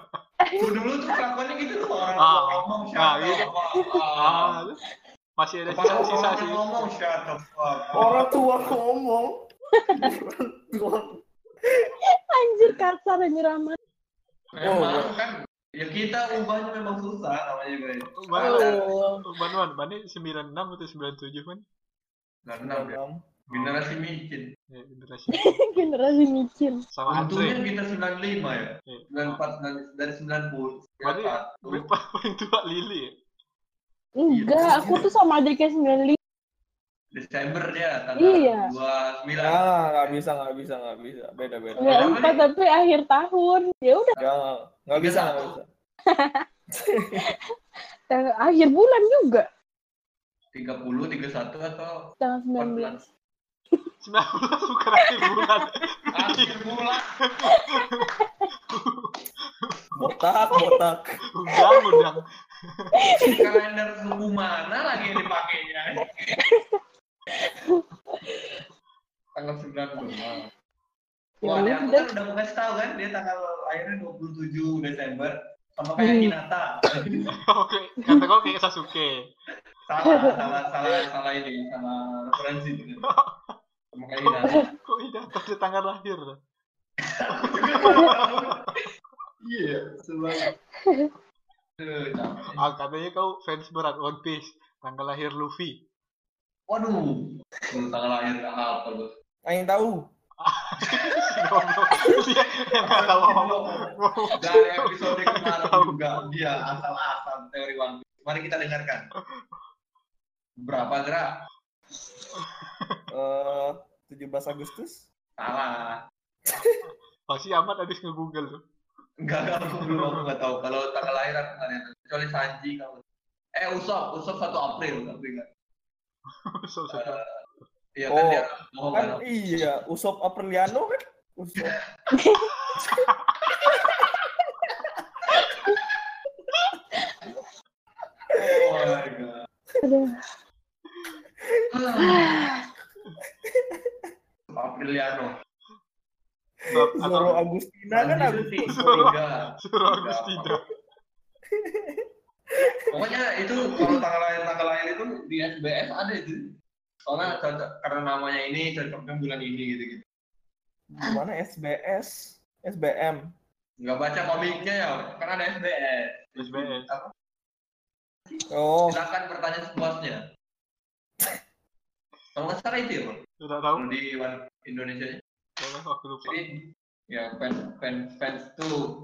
Speaker 2: Tuh dulu tuh kelakuannya gitu tuh orang
Speaker 1: Ah,
Speaker 2: tua ngomong
Speaker 1: ah,
Speaker 2: siapa
Speaker 1: gitu. Ah, Iya, terus masih ada
Speaker 2: Kepala
Speaker 1: sisa-sisa
Speaker 2: orang
Speaker 1: sih.
Speaker 2: ngomong siapa
Speaker 5: Orang tua ngomong. Orang tua.
Speaker 4: Anjir kasar anjir amat.
Speaker 2: Memang kan ya kita ubahnya memang susah namanya guys.
Speaker 1: Mana? Mana mana? Mana 96 atau 97 kan?
Speaker 2: Karena ya. generasi micin.
Speaker 1: Ya, generasi.
Speaker 4: Generasi micin.
Speaker 1: Sama
Speaker 2: Untungnya
Speaker 1: Andre.
Speaker 2: kita 95 ya.
Speaker 1: Iya.
Speaker 2: 94 dari ya 90.
Speaker 1: Berarti
Speaker 2: Siapa?
Speaker 1: Paling paling tua Lili ya?
Speaker 2: Iya.
Speaker 4: Enggak, aku tuh sama adiknya 95.
Speaker 2: Desember dia tanggal
Speaker 4: Iya.
Speaker 2: 29.
Speaker 5: Ah, nggak bisa, nggak bisa, nggak bisa. Beda, beda.
Speaker 4: Enggak empat tapi akhir tahun. Ya udah
Speaker 5: Jangan, nggak bisa, nggak bisa.
Speaker 4: tang- akhir bulan juga
Speaker 2: 30, 31 atau
Speaker 4: tanggal 19.
Speaker 1: 19
Speaker 2: 14.
Speaker 1: bukan akhir bulan.
Speaker 2: Akhir bulan.
Speaker 5: Botak, botak.
Speaker 1: Undang undang.
Speaker 2: Kalender suku mana lagi yang dipakainya? tanggal 19.
Speaker 4: Ya
Speaker 2: Wah, dia aku
Speaker 4: udah.
Speaker 2: kan udah mau kasih tahu kan dia tanggal akhirnya 27 Desember sama kayak
Speaker 4: Hmm.
Speaker 2: Hinata.
Speaker 1: Oke, kata kau kayak Sasuke.
Speaker 2: salah, salah, salah, salah ini, salah referensi itu. Sama kayak Hinata.
Speaker 1: Kok tidak ada tanggal lahir?
Speaker 2: Iya, sebab. Aduh, Eh, capek.
Speaker 1: Ah, katanya kau fans berat One Piece. Tanggal lahir Luffy.
Speaker 2: Waduh, tentang lahir tanggal apa tuh?
Speaker 5: Aing tahu.
Speaker 1: Dia nggak tahu apa-apa.
Speaker 2: Oh. Dari episode kemarin juga dia asal-asal teori One Piece. Mari kita dengarkan. Berapa gerak?
Speaker 5: Eh, 17 Agustus.
Speaker 2: Salah.
Speaker 1: Pasti amat habis nge-google tuh.
Speaker 2: Enggak, enggak, aku belum aku nggak tahu. Kalau tanggal lahir aku nggak lihat. Kecuali Sanji kalau Eh, Usop, Usop 1 April, tapi enggak.
Speaker 1: So, so, so.
Speaker 2: Iya kan
Speaker 5: Oh,
Speaker 2: dia bohong kan.
Speaker 5: Kan iya, Usop Apriliano kan? Usop.
Speaker 2: Oh my god.
Speaker 4: Aduh.
Speaker 2: Apriliano.
Speaker 1: Bab-
Speaker 5: Zoro
Speaker 1: atau
Speaker 5: Agustina kan
Speaker 2: Sanji
Speaker 5: Agustus.
Speaker 2: Susi, Tiga.
Speaker 1: Suruh Agustina.
Speaker 2: Pokoknya itu kalau tanggal lahir tanggal lahir itu di SBS ada itu. Soalnya cocok karena namanya ini cocoknya bulan ini gitu gitu.
Speaker 5: Gimana SBS? SBM.
Speaker 2: Nggak baca komiknya ya, karena ada SBS.
Speaker 1: SBS.
Speaker 2: Apa?
Speaker 5: Oh,
Speaker 2: Silakan bertanya sepuasnya. Kalau nggak salah itu ya, Bang?
Speaker 1: Tidak tahu.
Speaker 2: kalau di One- Indonesia.
Speaker 1: Karena aku lupa.
Speaker 2: Jadi ya fans fans fans tuh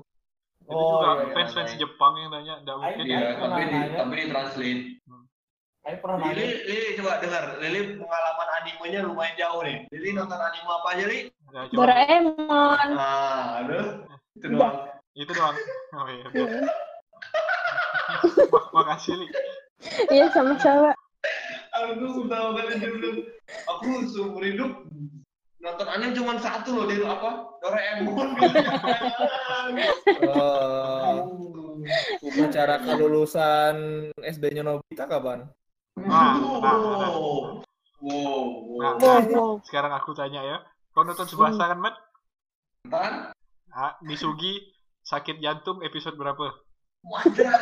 Speaker 1: Itu
Speaker 5: oh
Speaker 3: ya,
Speaker 1: juga
Speaker 5: iya.
Speaker 1: fans fans Jepang yang nanya, nggak mungkin.
Speaker 5: Iya,
Speaker 2: ya, tapi di
Speaker 5: nanya.
Speaker 2: tapi di translate.
Speaker 5: Aing pernah
Speaker 2: Lili,
Speaker 5: nanya.
Speaker 2: Lili coba dengar. Lili pengalaman animenya lumayan jauh nih. Lili nonton anime apa aja, Lili?
Speaker 1: Ya, cuma
Speaker 4: eh? Doraemon.
Speaker 2: Ah, aduh. Itu doang.
Speaker 1: itu doang. Oh iya. biar. Mak- Makasih li.
Speaker 4: Iya sama-sama.
Speaker 2: Aku sudah kali dulu. Aku seumur hidup nonton anime cuma satu loh, Lili apa? Doraemon.
Speaker 3: Eh, upacara kelulusan SD-nya Nobita kapan?
Speaker 1: Nah, nah, nah.
Speaker 2: Wow. Wow.
Speaker 1: Nah,
Speaker 4: Wow, wow.
Speaker 1: Sekarang aku tanya ya. Kau nonton
Speaker 4: Hmm.
Speaker 1: Subasa kan, Mat?
Speaker 2: Kan?
Speaker 1: Ah, Misugi sakit jantung episode berapa?
Speaker 2: Wadah.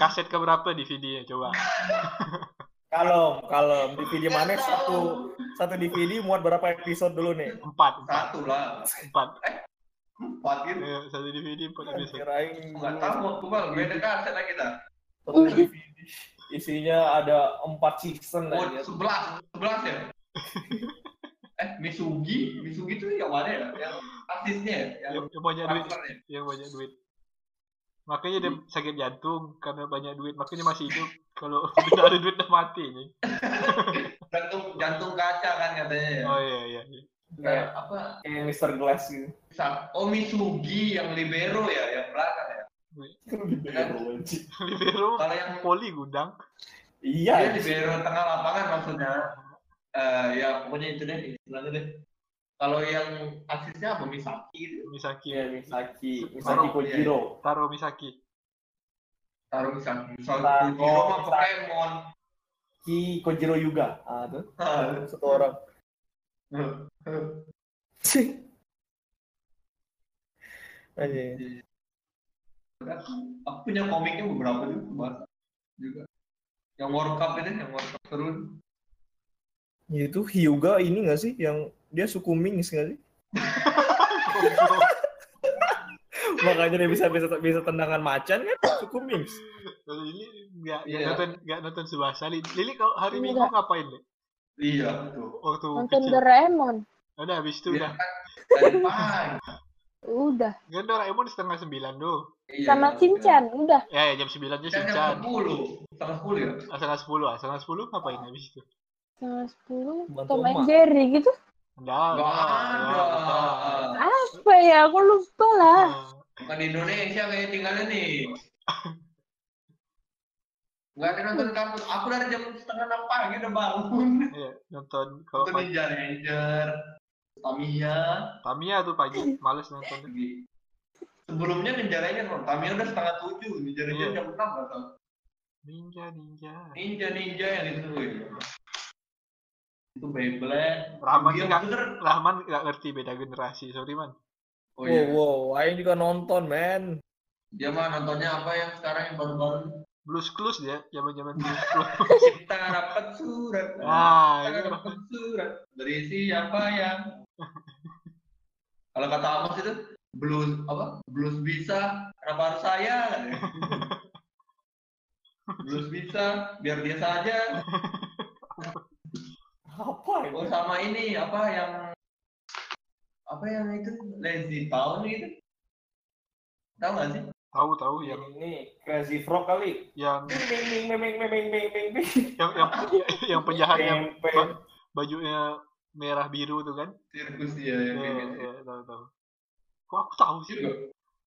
Speaker 1: Kaset ke berapa DVD-nya coba?
Speaker 5: Kalem, kalem. DVD mana satu satu DVD muat berapa episode dulu nih?
Speaker 1: Empat, empat,
Speaker 2: Satu lah.
Speaker 1: empat.
Speaker 2: Empat gitu.
Speaker 1: Eh, satu DVD empat episode.
Speaker 5: Kirain
Speaker 2: Nggak tahu, Bang. Beda kaset lah kita.
Speaker 5: satu DVD. Isinya ada empat season ya.
Speaker 2: Oh,
Speaker 3: Iya,
Speaker 5: aja.
Speaker 2: sebelas, sebelas ya? eh, Misugi, Misugi itu yang mana ya? Yang artisnya ya? Yang ya?
Speaker 1: Yang, yang banyak duit,
Speaker 2: karakternya?
Speaker 1: yang banyak duit. Makanya dia sakit jantung karena banyak duit, makanya masih hidup. Kalau tidak ada duit udah mati ini.
Speaker 2: Jantung, jantung kaca kan katanya ya?
Speaker 1: Oh iya iya. iya.
Speaker 2: Kayak
Speaker 5: Kayak
Speaker 2: apa?
Speaker 5: kayak Mr. Glass gitu.
Speaker 2: Sa- Oh, Misugi yang libero ya, yang belakang ya?
Speaker 5: Kan
Speaker 1: Libero
Speaker 2: Kalau yang
Speaker 1: poli gudang.
Speaker 5: Iya.
Speaker 2: dia libero tengah lapangan maksudnya. Eh, ya pokoknya itu deh, istilahnya deh. Kalau yang aksesnya apa Misaki gitu.
Speaker 1: Misaki
Speaker 4: Ya.
Speaker 5: Iya, Misaki, Misaki
Speaker 2: Separuh,
Speaker 5: Kojiro.
Speaker 1: Taro Misaki
Speaker 2: Taruh Misaki. Soal
Speaker 5: Nah,
Speaker 2: Kujiro mah
Speaker 5: oh,
Speaker 2: Pokemon.
Speaker 5: Ki Kojiro Yuga. Ah, tuh.
Speaker 2: Hah.
Speaker 5: Satu orang.
Speaker 2: Nah,
Speaker 3: Anjing.
Speaker 2: Aku punya komiknya beberapa juga bahas juga. Yang World Cup itu yang World Cup seru.
Speaker 3: Itu Hyuga ini nggak sih yang dia suku Ming nggak sih? Makanya dia bisa bisa bisa tendangan macan kan suku Ming.
Speaker 1: Kalau Lili nggak nggak
Speaker 2: Iya.
Speaker 1: nonton nggak nonton Subasa Lili. Lili kalau hari Minggu
Speaker 4: Ya. Nggak.
Speaker 1: ngapain deh?
Speaker 2: Iya betul.
Speaker 1: Waktu
Speaker 4: Nonton
Speaker 1: kecil.
Speaker 4: Doraemon.
Speaker 1: Udah habis itu
Speaker 2: Iya
Speaker 1: udah.
Speaker 2: kan? Dari pagi.
Speaker 4: Udah.
Speaker 1: Kan Doraemon setengah sembilan tuh.
Speaker 2: Iya,
Speaker 4: Sama Cinchan. Udah.
Speaker 1: Ya, ya jam sembilannya
Speaker 2: Kan jam
Speaker 1: Shinchan.
Speaker 2: sepuluh, setengah sepuluh ya.
Speaker 1: Ah, Setengah sepuluh, ah. setengah sepuluh ngapain habis itu?
Speaker 4: Sama 10.
Speaker 3: Bantu
Speaker 4: Tom and
Speaker 3: emak.
Speaker 4: Jerry gitu.
Speaker 1: Enggak. Nah,
Speaker 2: Gak ada. Ah.
Speaker 4: Apa ya? Aku lupa lah.
Speaker 2: Bukan di Indonesia kayak tinggalnya nih. Gak ada nonton kampus. Aku dari jam setengah enam pagi udah bangun.
Speaker 1: Iya, nonton kalau
Speaker 2: Nonton
Speaker 1: pagi
Speaker 2: Ninja Ranger, Tamiya.
Speaker 1: Tamiya tuh pagi males nonton.
Speaker 2: Sebelumnya Ninja Ranger, bang. Tamiya udah setengah tujuh. Ninja Ranger
Speaker 1: Iya.
Speaker 2: jam enam atau
Speaker 1: Ninja ninja.
Speaker 2: Ninja Ninja yang itu. Ya. Itu Beyblade.
Speaker 1: Rahman
Speaker 2: Dia
Speaker 1: nggak-
Speaker 2: bener.
Speaker 1: Rahman nggak ngerti beda generasi, sorry man.
Speaker 2: Oh
Speaker 3: Wow,
Speaker 2: iya.
Speaker 3: wow, Aing juga nonton, man.
Speaker 2: Dia mah nontonnya apa yang sekarang yang baru-baru?
Speaker 1: Blues Clues dia, zaman-zaman Blues Clues.
Speaker 2: Kita dapat surat.
Speaker 1: Nah,
Speaker 2: Kita
Speaker 1: itu kenapa?
Speaker 2: dapat surat dari siapa yang kalau kata Amos itu blues apa blues bisa kenapa harus saya blues bisa biar dia saja
Speaker 5: Apa ya?
Speaker 2: oh sama ini apa yang apa yang itu lazy town itu tahu nggak sih
Speaker 1: Tahu tahu yang
Speaker 5: Iya. Ini Crazy Frog kali.
Speaker 1: yang
Speaker 5: Ming, ming, ming, ming, ming, ming, ming, ming.
Speaker 1: yang yang, yang penjahatnya
Speaker 5: Pem, pem.
Speaker 1: bajunya merah biru tuh kan?
Speaker 2: sirkus ya yang
Speaker 1: Iya,
Speaker 2: kayak gitu.
Speaker 1: iya, tahu tahu. Kok aku tahu sih?
Speaker 2: Juga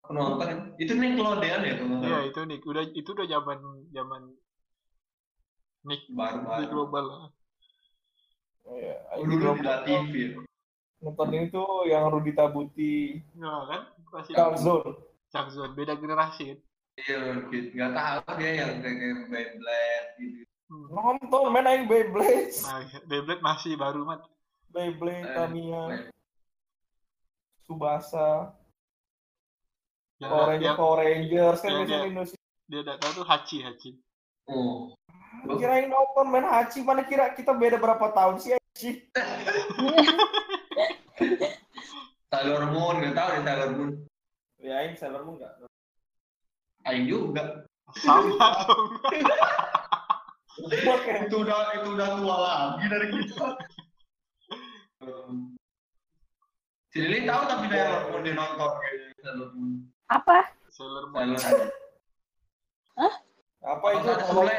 Speaker 2: aku nonton itu nih Claudean ya kalau nggak
Speaker 1: Iya
Speaker 2: salah.
Speaker 1: itu nih, udah itu udah zaman zaman di
Speaker 2: baru-baru
Speaker 1: global lah.
Speaker 5: Oh, iya.
Speaker 2: Oh, dulu di TV
Speaker 1: Iya.
Speaker 2: ya.
Speaker 5: Nonton itu yang Rudi Tabuti.
Speaker 1: Nah, kan pasti
Speaker 5: Calzone.
Speaker 1: Jackson beda generasi kan.
Speaker 2: Iya, gitu. Gak tahu dia yang kayak Beyblade gitu.
Speaker 1: Hmm.
Speaker 5: Nonton main aing Beyblade.
Speaker 1: Nah, iya. Beyblade masih baru mat.
Speaker 5: Beyblade,
Speaker 2: Eh,
Speaker 5: Tamiya,
Speaker 2: Beyblade.
Speaker 5: Subasa,
Speaker 1: Yang,
Speaker 5: Power Rangers,
Speaker 1: yang
Speaker 5: Power Rangers, kan
Speaker 1: yang
Speaker 5: biasanya
Speaker 1: dia-
Speaker 5: Indonesia.
Speaker 1: dia tidak tahu tuh Hachi Hachi.
Speaker 2: Oh.
Speaker 3: Iya.
Speaker 5: Kirain nonton main Hachi, mana kira kita beda berapa tahun sih Hachi?
Speaker 2: Sailor Moon, gak tahu deh Sailor Moon.
Speaker 5: Ya, aing Sailor Moon nggak?
Speaker 2: Aing juga.
Speaker 1: Sama dong.
Speaker 5: Buat kayak
Speaker 2: Itu udah itu udah tua lagi dari kita. si Lili tahu tapi Sailor Moon dia nonton kayaknya, Sailor Moon.
Speaker 4: Apa?
Speaker 1: Sailor Moon.
Speaker 2: Sailor Moon.
Speaker 5: apa
Speaker 3: Oh,
Speaker 2: Kalau
Speaker 5: itu
Speaker 2: ada
Speaker 5: nama,
Speaker 2: Sule,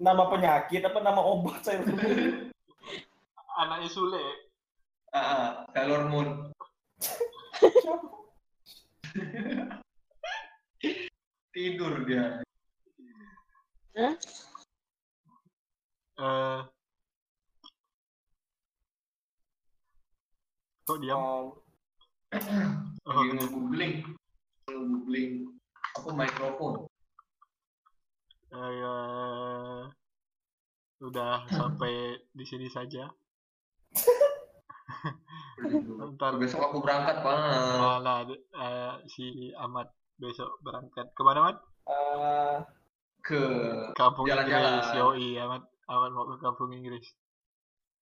Speaker 5: nama penyakit apa nama obat Sailor Moon?
Speaker 1: Anaknya Sule.
Speaker 2: ah, ah, Sailor Moon. Tidur dia.
Speaker 1: Eh. Kok diam?
Speaker 5: Um,
Speaker 1: Oh,
Speaker 2: Lagi nge-googling. Googling apa mikrofon.
Speaker 1: eh, udah sampai di sini saja. Ntar
Speaker 2: Ntar besok aku berangkat, Bang.
Speaker 1: Nah, nah, de- eh, si Ahmad besok berangkat kemana man?
Speaker 5: eh,
Speaker 2: Ke
Speaker 1: Kampung
Speaker 2: Jalan-jalan.
Speaker 1: Inggris. Yoi, Ahmad, Ahmad mau ke Kampung Inggris.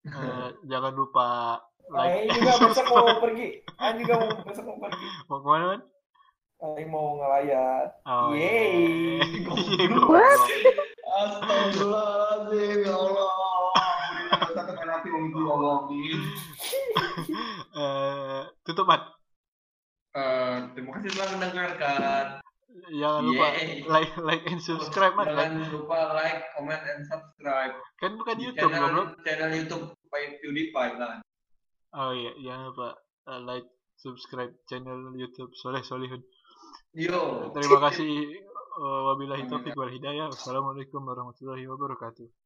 Speaker 1: Eh, jangan lupa
Speaker 5: aing
Speaker 1: like.
Speaker 5: juga besok mau pergi. Aing juga mau besok mau pergi.
Speaker 1: mau kemana man?
Speaker 5: Aing mau ngelayat.
Speaker 1: Oh,
Speaker 5: Yeay.
Speaker 1: Yeay, goblok.
Speaker 2: Astagfirullahaladzim, ya Allah. Kita tekan hati untuk Allah.
Speaker 1: Eh, tutup man.
Speaker 2: Eh, Terima kasih telah mendengarkan.
Speaker 1: Jangan lupa
Speaker 2: Yeay.
Speaker 1: like like and subscribe man.
Speaker 2: Jangan lupa like, comment, and subscribe.
Speaker 1: Kan bukan
Speaker 2: Di
Speaker 1: YouTube goblok.
Speaker 2: channel, channel YouTube PewDiePie lah.
Speaker 1: Oh iya, jangan lupa eh, like, subscribe channel YouTube Soleh Solihun.
Speaker 2: Yo.
Speaker 1: Terima kasih. eh, Wabillahi taufiq wal hidayah. Wassalamualaikum warahmatullahi wabarakatuh.